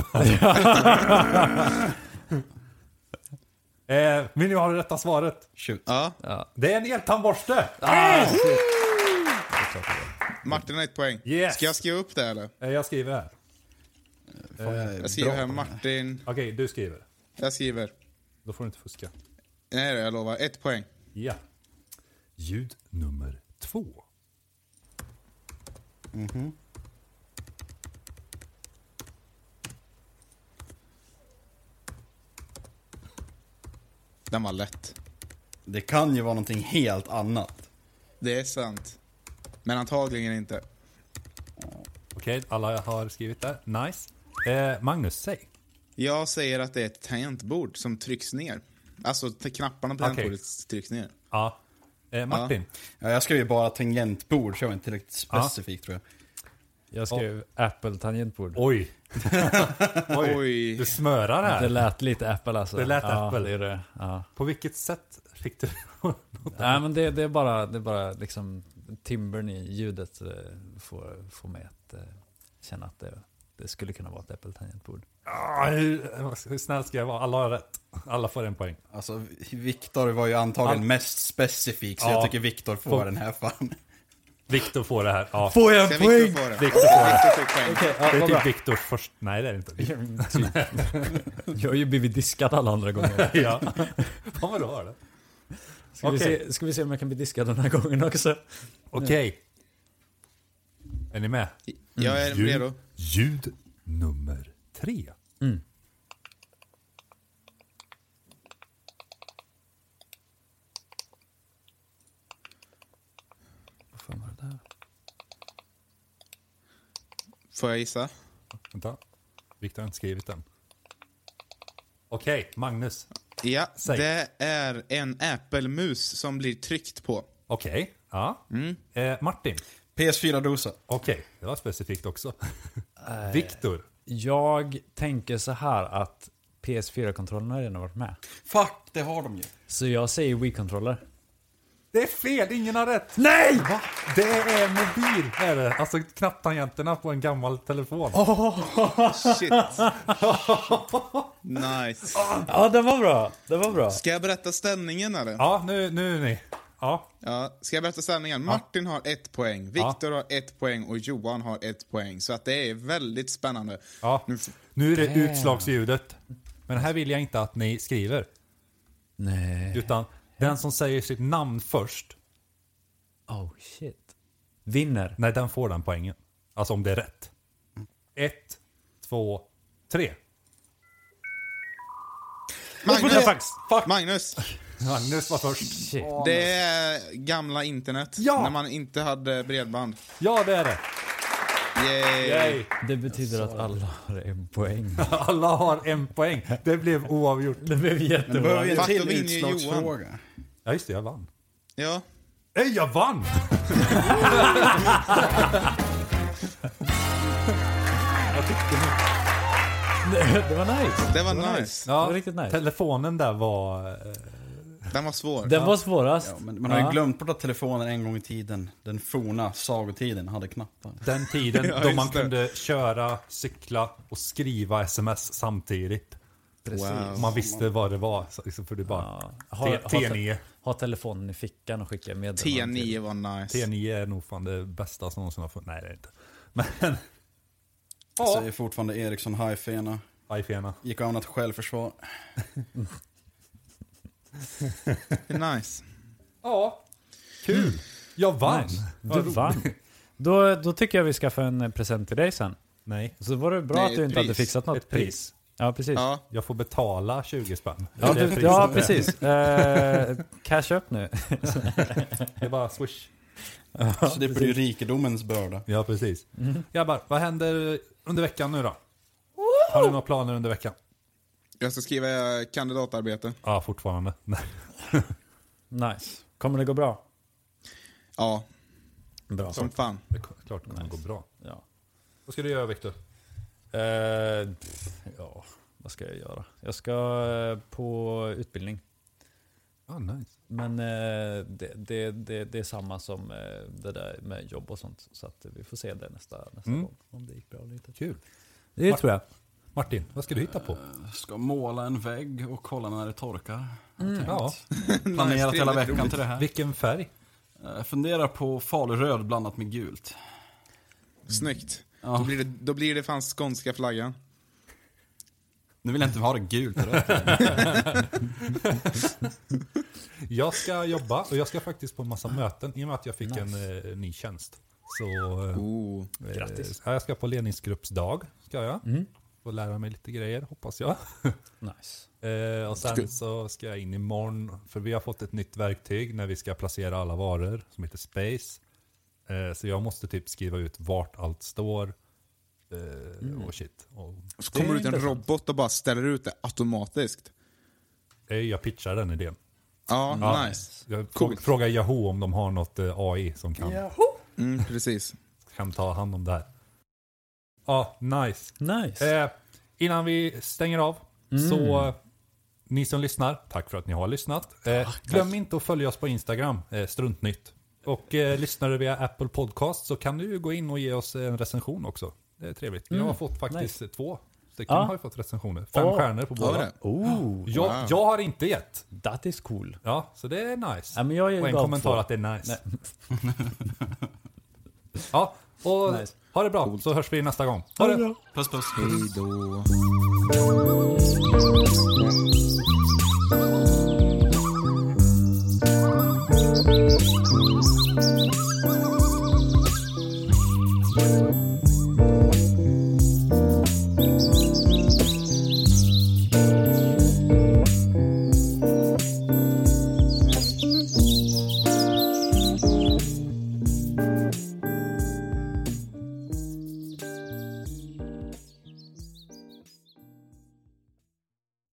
Speaker 2: eh, vill ni ha det rätta svaret?
Speaker 4: Shoot.
Speaker 3: Ja,
Speaker 2: Det är en eltandborste!
Speaker 3: Martin har ett poäng.
Speaker 2: Yes.
Speaker 3: Ska jag skriva upp det eller?
Speaker 2: Eh, jag skriver här.
Speaker 4: Fan, jag är
Speaker 3: Eh, Jag skriver
Speaker 4: bra
Speaker 3: här
Speaker 4: på det
Speaker 3: Martin.
Speaker 2: Okej, du skriver.
Speaker 3: Jag skriver.
Speaker 2: Då får du inte fuska.
Speaker 3: Nej, jag lovar. Ett poäng.
Speaker 2: Ja. Ljud nummer två.
Speaker 3: Den var lätt.
Speaker 4: Det kan ju vara någonting helt annat.
Speaker 3: Det är sant. Men antagligen inte.
Speaker 2: Okej, alla har skrivit där. Nice. Eh, Magnus, säg.
Speaker 3: Jag säger att det är ett tangentbord som trycks ner. Alltså t- knapparna på
Speaker 2: Okej.
Speaker 3: tangentbordet trycks ner.
Speaker 2: Ja. Eh, Martin.
Speaker 4: Ja, jag skrev ju bara tangentbord så jag var inte tillräckligt specifik tror jag.
Speaker 5: Jag skrev Apple tangentbord.
Speaker 2: Oj. Oj.
Speaker 3: Oj.
Speaker 2: Du smörar
Speaker 5: Det
Speaker 2: här.
Speaker 5: lät lite Apple alltså.
Speaker 2: Det lät
Speaker 5: ja,
Speaker 2: Apple.
Speaker 5: Det är det. Ja.
Speaker 2: På vilket sätt fick du...
Speaker 5: Nej men det, det är bara, det är bara liksom timbern i ljudet eh, får, får mig att eh, känna att det, det skulle kunna vara ett Apple tangentbord.
Speaker 2: ah, hur, hur snäll ska jag vara? Alla har rätt. Alla får en poäng.
Speaker 4: Alltså, Viktor var ju antagligen mest specifik så
Speaker 2: Ja.
Speaker 4: jag tycker Viktor får
Speaker 2: Får-
Speaker 4: den här fan.
Speaker 2: Viktor får det här. Ja.
Speaker 5: Får
Speaker 3: Ska Viktor
Speaker 2: Viktor får
Speaker 3: få det?
Speaker 2: det.
Speaker 3: Viktor fick poäng.
Speaker 2: Det är typ Viktors först... Nej, det är det inte.
Speaker 5: Jag har ju blivit diskad alla andra gånger.
Speaker 2: Ja. Fan vad du har det.
Speaker 5: Ska, vi
Speaker 2: Okej.
Speaker 5: se, ska vi se om jag kan bli diskad den här gången också?
Speaker 2: Okej. Är ni med?
Speaker 3: Jag är redo.
Speaker 2: ljud nummer tre.
Speaker 5: Vad fan var det där?
Speaker 3: Får jag gissa?
Speaker 2: Vänta. Viktor har inte skrivit den. Okej, Magnus.
Speaker 3: Ja,
Speaker 2: Säg.
Speaker 3: det är en äppelmus som blir tryckt på.
Speaker 2: Okej. Ja.
Speaker 3: Mm.
Speaker 2: Eh, Martin.
Speaker 4: PS4-dosa.
Speaker 2: Okej, det var specifikt också. Viktor.
Speaker 5: Jag tänker så här att PS4-kontrollen har redan varit med.
Speaker 4: Fuck, det har de ju.
Speaker 5: Så jag säger Wii-controller.
Speaker 2: Det är fel, ingen har rätt!
Speaker 5: Nej!
Speaker 2: Va? Det är mobil, är det. Alltså knapptangenterna på en gammal telefon.
Speaker 3: Shit. Nice.
Speaker 5: Ja, den var bra. Den var bra.
Speaker 3: Ska jag berätta ställningen eller?
Speaker 2: Ja, nu, nu är ni. Ja,
Speaker 3: Ja, ska jag berätta sanningen? Martin har ett poäng, Viktor har ett poäng och Johan har ett poäng. Så att det är väldigt spännande.
Speaker 2: ja. Nu är det utslagsljudet. Men här vill jag inte att ni skriver.
Speaker 5: Nej.
Speaker 2: Utan den som säger sitt namn först,
Speaker 5: Oh shit. Vinner.
Speaker 2: nej den får den poängen. Alltså om det är rätt. Ett, två, tre.
Speaker 3: Magnus!
Speaker 2: Fuck!
Speaker 3: Magnus!
Speaker 2: Magnus var först.
Speaker 5: Shit.
Speaker 3: Det är gamla internet,
Speaker 2: Ja!
Speaker 3: när man inte hade bredband.
Speaker 2: Ja, det är det.
Speaker 3: Yay.
Speaker 2: Yay.
Speaker 5: Det betyder att alla har en poäng.
Speaker 2: Alla har en poäng. Det blev oavgjort.
Speaker 5: Det blev
Speaker 4: Det
Speaker 5: jättebra.
Speaker 4: behöver ju en
Speaker 3: Fuck, då
Speaker 4: till
Speaker 3: vinner ju Johan.
Speaker 4: utslagsfråga.
Speaker 2: Ja, just det. Jag vann.
Speaker 3: Ja.
Speaker 2: Nej, jag vann! jag tyckte nog...
Speaker 5: det var nice.
Speaker 3: Det var nice.
Speaker 5: Det var riktigt nice.
Speaker 2: Telefonen där var... eh,
Speaker 3: Den var svår.
Speaker 5: Den var svårast.
Speaker 4: Ja, men man har ju
Speaker 5: Ja.
Speaker 4: glömt bort att telefonen en gång i tiden, den forna sagotiden, hade knappar.
Speaker 2: Den tiden
Speaker 3: Ja,
Speaker 2: då man
Speaker 3: just det.
Speaker 2: kunde köra, cykla och skriva sms samtidigt.
Speaker 3: Wow.
Speaker 2: Man visste vad det var. så Liksom, för det bara...
Speaker 5: Ja. Ha-
Speaker 2: T- T9.
Speaker 5: Ha telefonen i fickan och skicka meddelanden. till-
Speaker 3: T9 var nice.
Speaker 2: T9 är nog fan det bästa som någonsin har funnits. Nej, det är det inte. Men...
Speaker 4: Jag
Speaker 2: Ja,
Speaker 4: säger fortfarande Ericsson Hi-Fena.
Speaker 2: Ifena.
Speaker 4: Gick och använde till självförsvar.
Speaker 3: Nice.
Speaker 2: Ja. Kul. Jag vann.
Speaker 5: Nice.
Speaker 2: Vad
Speaker 5: Du
Speaker 2: roligt.
Speaker 5: vann. Då, då tycker jag vi ska få en eh, present till dig sen.
Speaker 2: Nej.
Speaker 5: Så var det bra
Speaker 3: Nej,
Speaker 5: att du
Speaker 3: ett
Speaker 5: inte hade
Speaker 3: pris.
Speaker 5: fixat något
Speaker 2: Ett pris.
Speaker 5: Ja, precis. Ja,
Speaker 3: Ja,
Speaker 2: Jag får betala 20 spänn. Det är
Speaker 5: du,
Speaker 2: priset.
Speaker 5: ja precis. Eh, cash upp nu.
Speaker 2: Det är bara swish.
Speaker 4: så det blir ju rikedomens börda.
Speaker 2: Ja, precis. Grabbar, Mm-hmm. vad händer under veckan nu då? Har ni några planer under veckan?
Speaker 3: jag ska skriva eh, kandidatarbete.
Speaker 2: Ja, fortfarande. Nej.
Speaker 5: Nice. Kommer det gå bra?
Speaker 3: Ja,
Speaker 5: Bra.
Speaker 3: som fan.
Speaker 2: Det är klart det kommer gå bra.
Speaker 5: Ja.
Speaker 2: Vad ska du göra Viktor?
Speaker 5: Eh, pff, ja, vad ska jag göra? Jag ska eh, på utbildning.
Speaker 2: Ah, nice.
Speaker 5: Men eh, det, det, det, det är samma som eh, det där med jobb och sånt. Så att vi får se det nästa, nästa
Speaker 2: Mm.
Speaker 5: gång. Om det gick bra eller inte.
Speaker 2: Kul.
Speaker 5: Det tror jag. Mm.
Speaker 2: Martin, vad ska du hitta på?
Speaker 4: Ska måla en vägg och kolla när det torkar.
Speaker 2: Ja,
Speaker 4: Planerat hela
Speaker 3: trevligt,
Speaker 4: veckan
Speaker 3: roligt.
Speaker 4: till det här.
Speaker 2: vilken färg?
Speaker 4: Eh, Funderar på faluröd blandat med gult.
Speaker 3: Snyggt.
Speaker 4: Ja.
Speaker 3: Då, blir det, då blir det fan skånska flaggan.
Speaker 4: Nu vill jag inte ha det gult och rött.
Speaker 2: Jag ska jobba och jag ska faktiskt på en massa möten i och med att jag fick en eh, ny tjänst. Så, eh,
Speaker 3: Oh.
Speaker 2: eh, jag ska på ledningsgruppsdag. Ska jag.
Speaker 5: Mm.
Speaker 2: Och lära mig lite grejer, hoppas jag.
Speaker 5: Nice.
Speaker 2: Eh, och sen så ska jag in imorgon, för vi har fått ett nytt verktyg när vi ska placera alla varor som heter Space. Eh, så jag måste typ skriva ut vart allt står. Eh, Och shit. Och,
Speaker 3: Så
Speaker 2: Det är
Speaker 3: kommer det ut en
Speaker 2: intressant.
Speaker 3: robot och bara ställer ut det automatiskt.
Speaker 2: Eh, jag pitchar den idén.
Speaker 3: Ja, nice.
Speaker 2: Jag
Speaker 3: Coolt.
Speaker 2: frågar Yahoo om de har något eh, AI som kan,
Speaker 3: Mm, precis.
Speaker 2: kan ta hand om det här. Ja, nice.
Speaker 5: Nice.
Speaker 2: Eh, innan vi stänger av, så
Speaker 5: Mm.
Speaker 2: eh, ni som lyssnar, tack för att ni har lyssnat. Eh, glöm inte att följa oss på Instagram, eh, struntnytt. Och eh, lyssnar du via Apple Podcast så kan du ju gå in och ge oss en recension också. Det är trevligt. Jag har fått faktiskt två stycken
Speaker 5: Mm, Ja.
Speaker 2: har ju fått recensioner. Fem
Speaker 5: Åh.
Speaker 2: stjärnor på
Speaker 3: Har
Speaker 2: båda.
Speaker 3: vi det?
Speaker 5: Oh,
Speaker 2: Jag, jag har inte gett.
Speaker 5: that is cool.
Speaker 2: Ja, så det är nice.
Speaker 5: Ja, men jag är ju
Speaker 2: och en
Speaker 5: glad
Speaker 2: kommentar
Speaker 5: för-
Speaker 2: att det är nice. ja, och
Speaker 5: Nice.
Speaker 2: ha det bra så hörs vi nästa gång. Ha det!
Speaker 4: Puss puss.
Speaker 3: Hej då.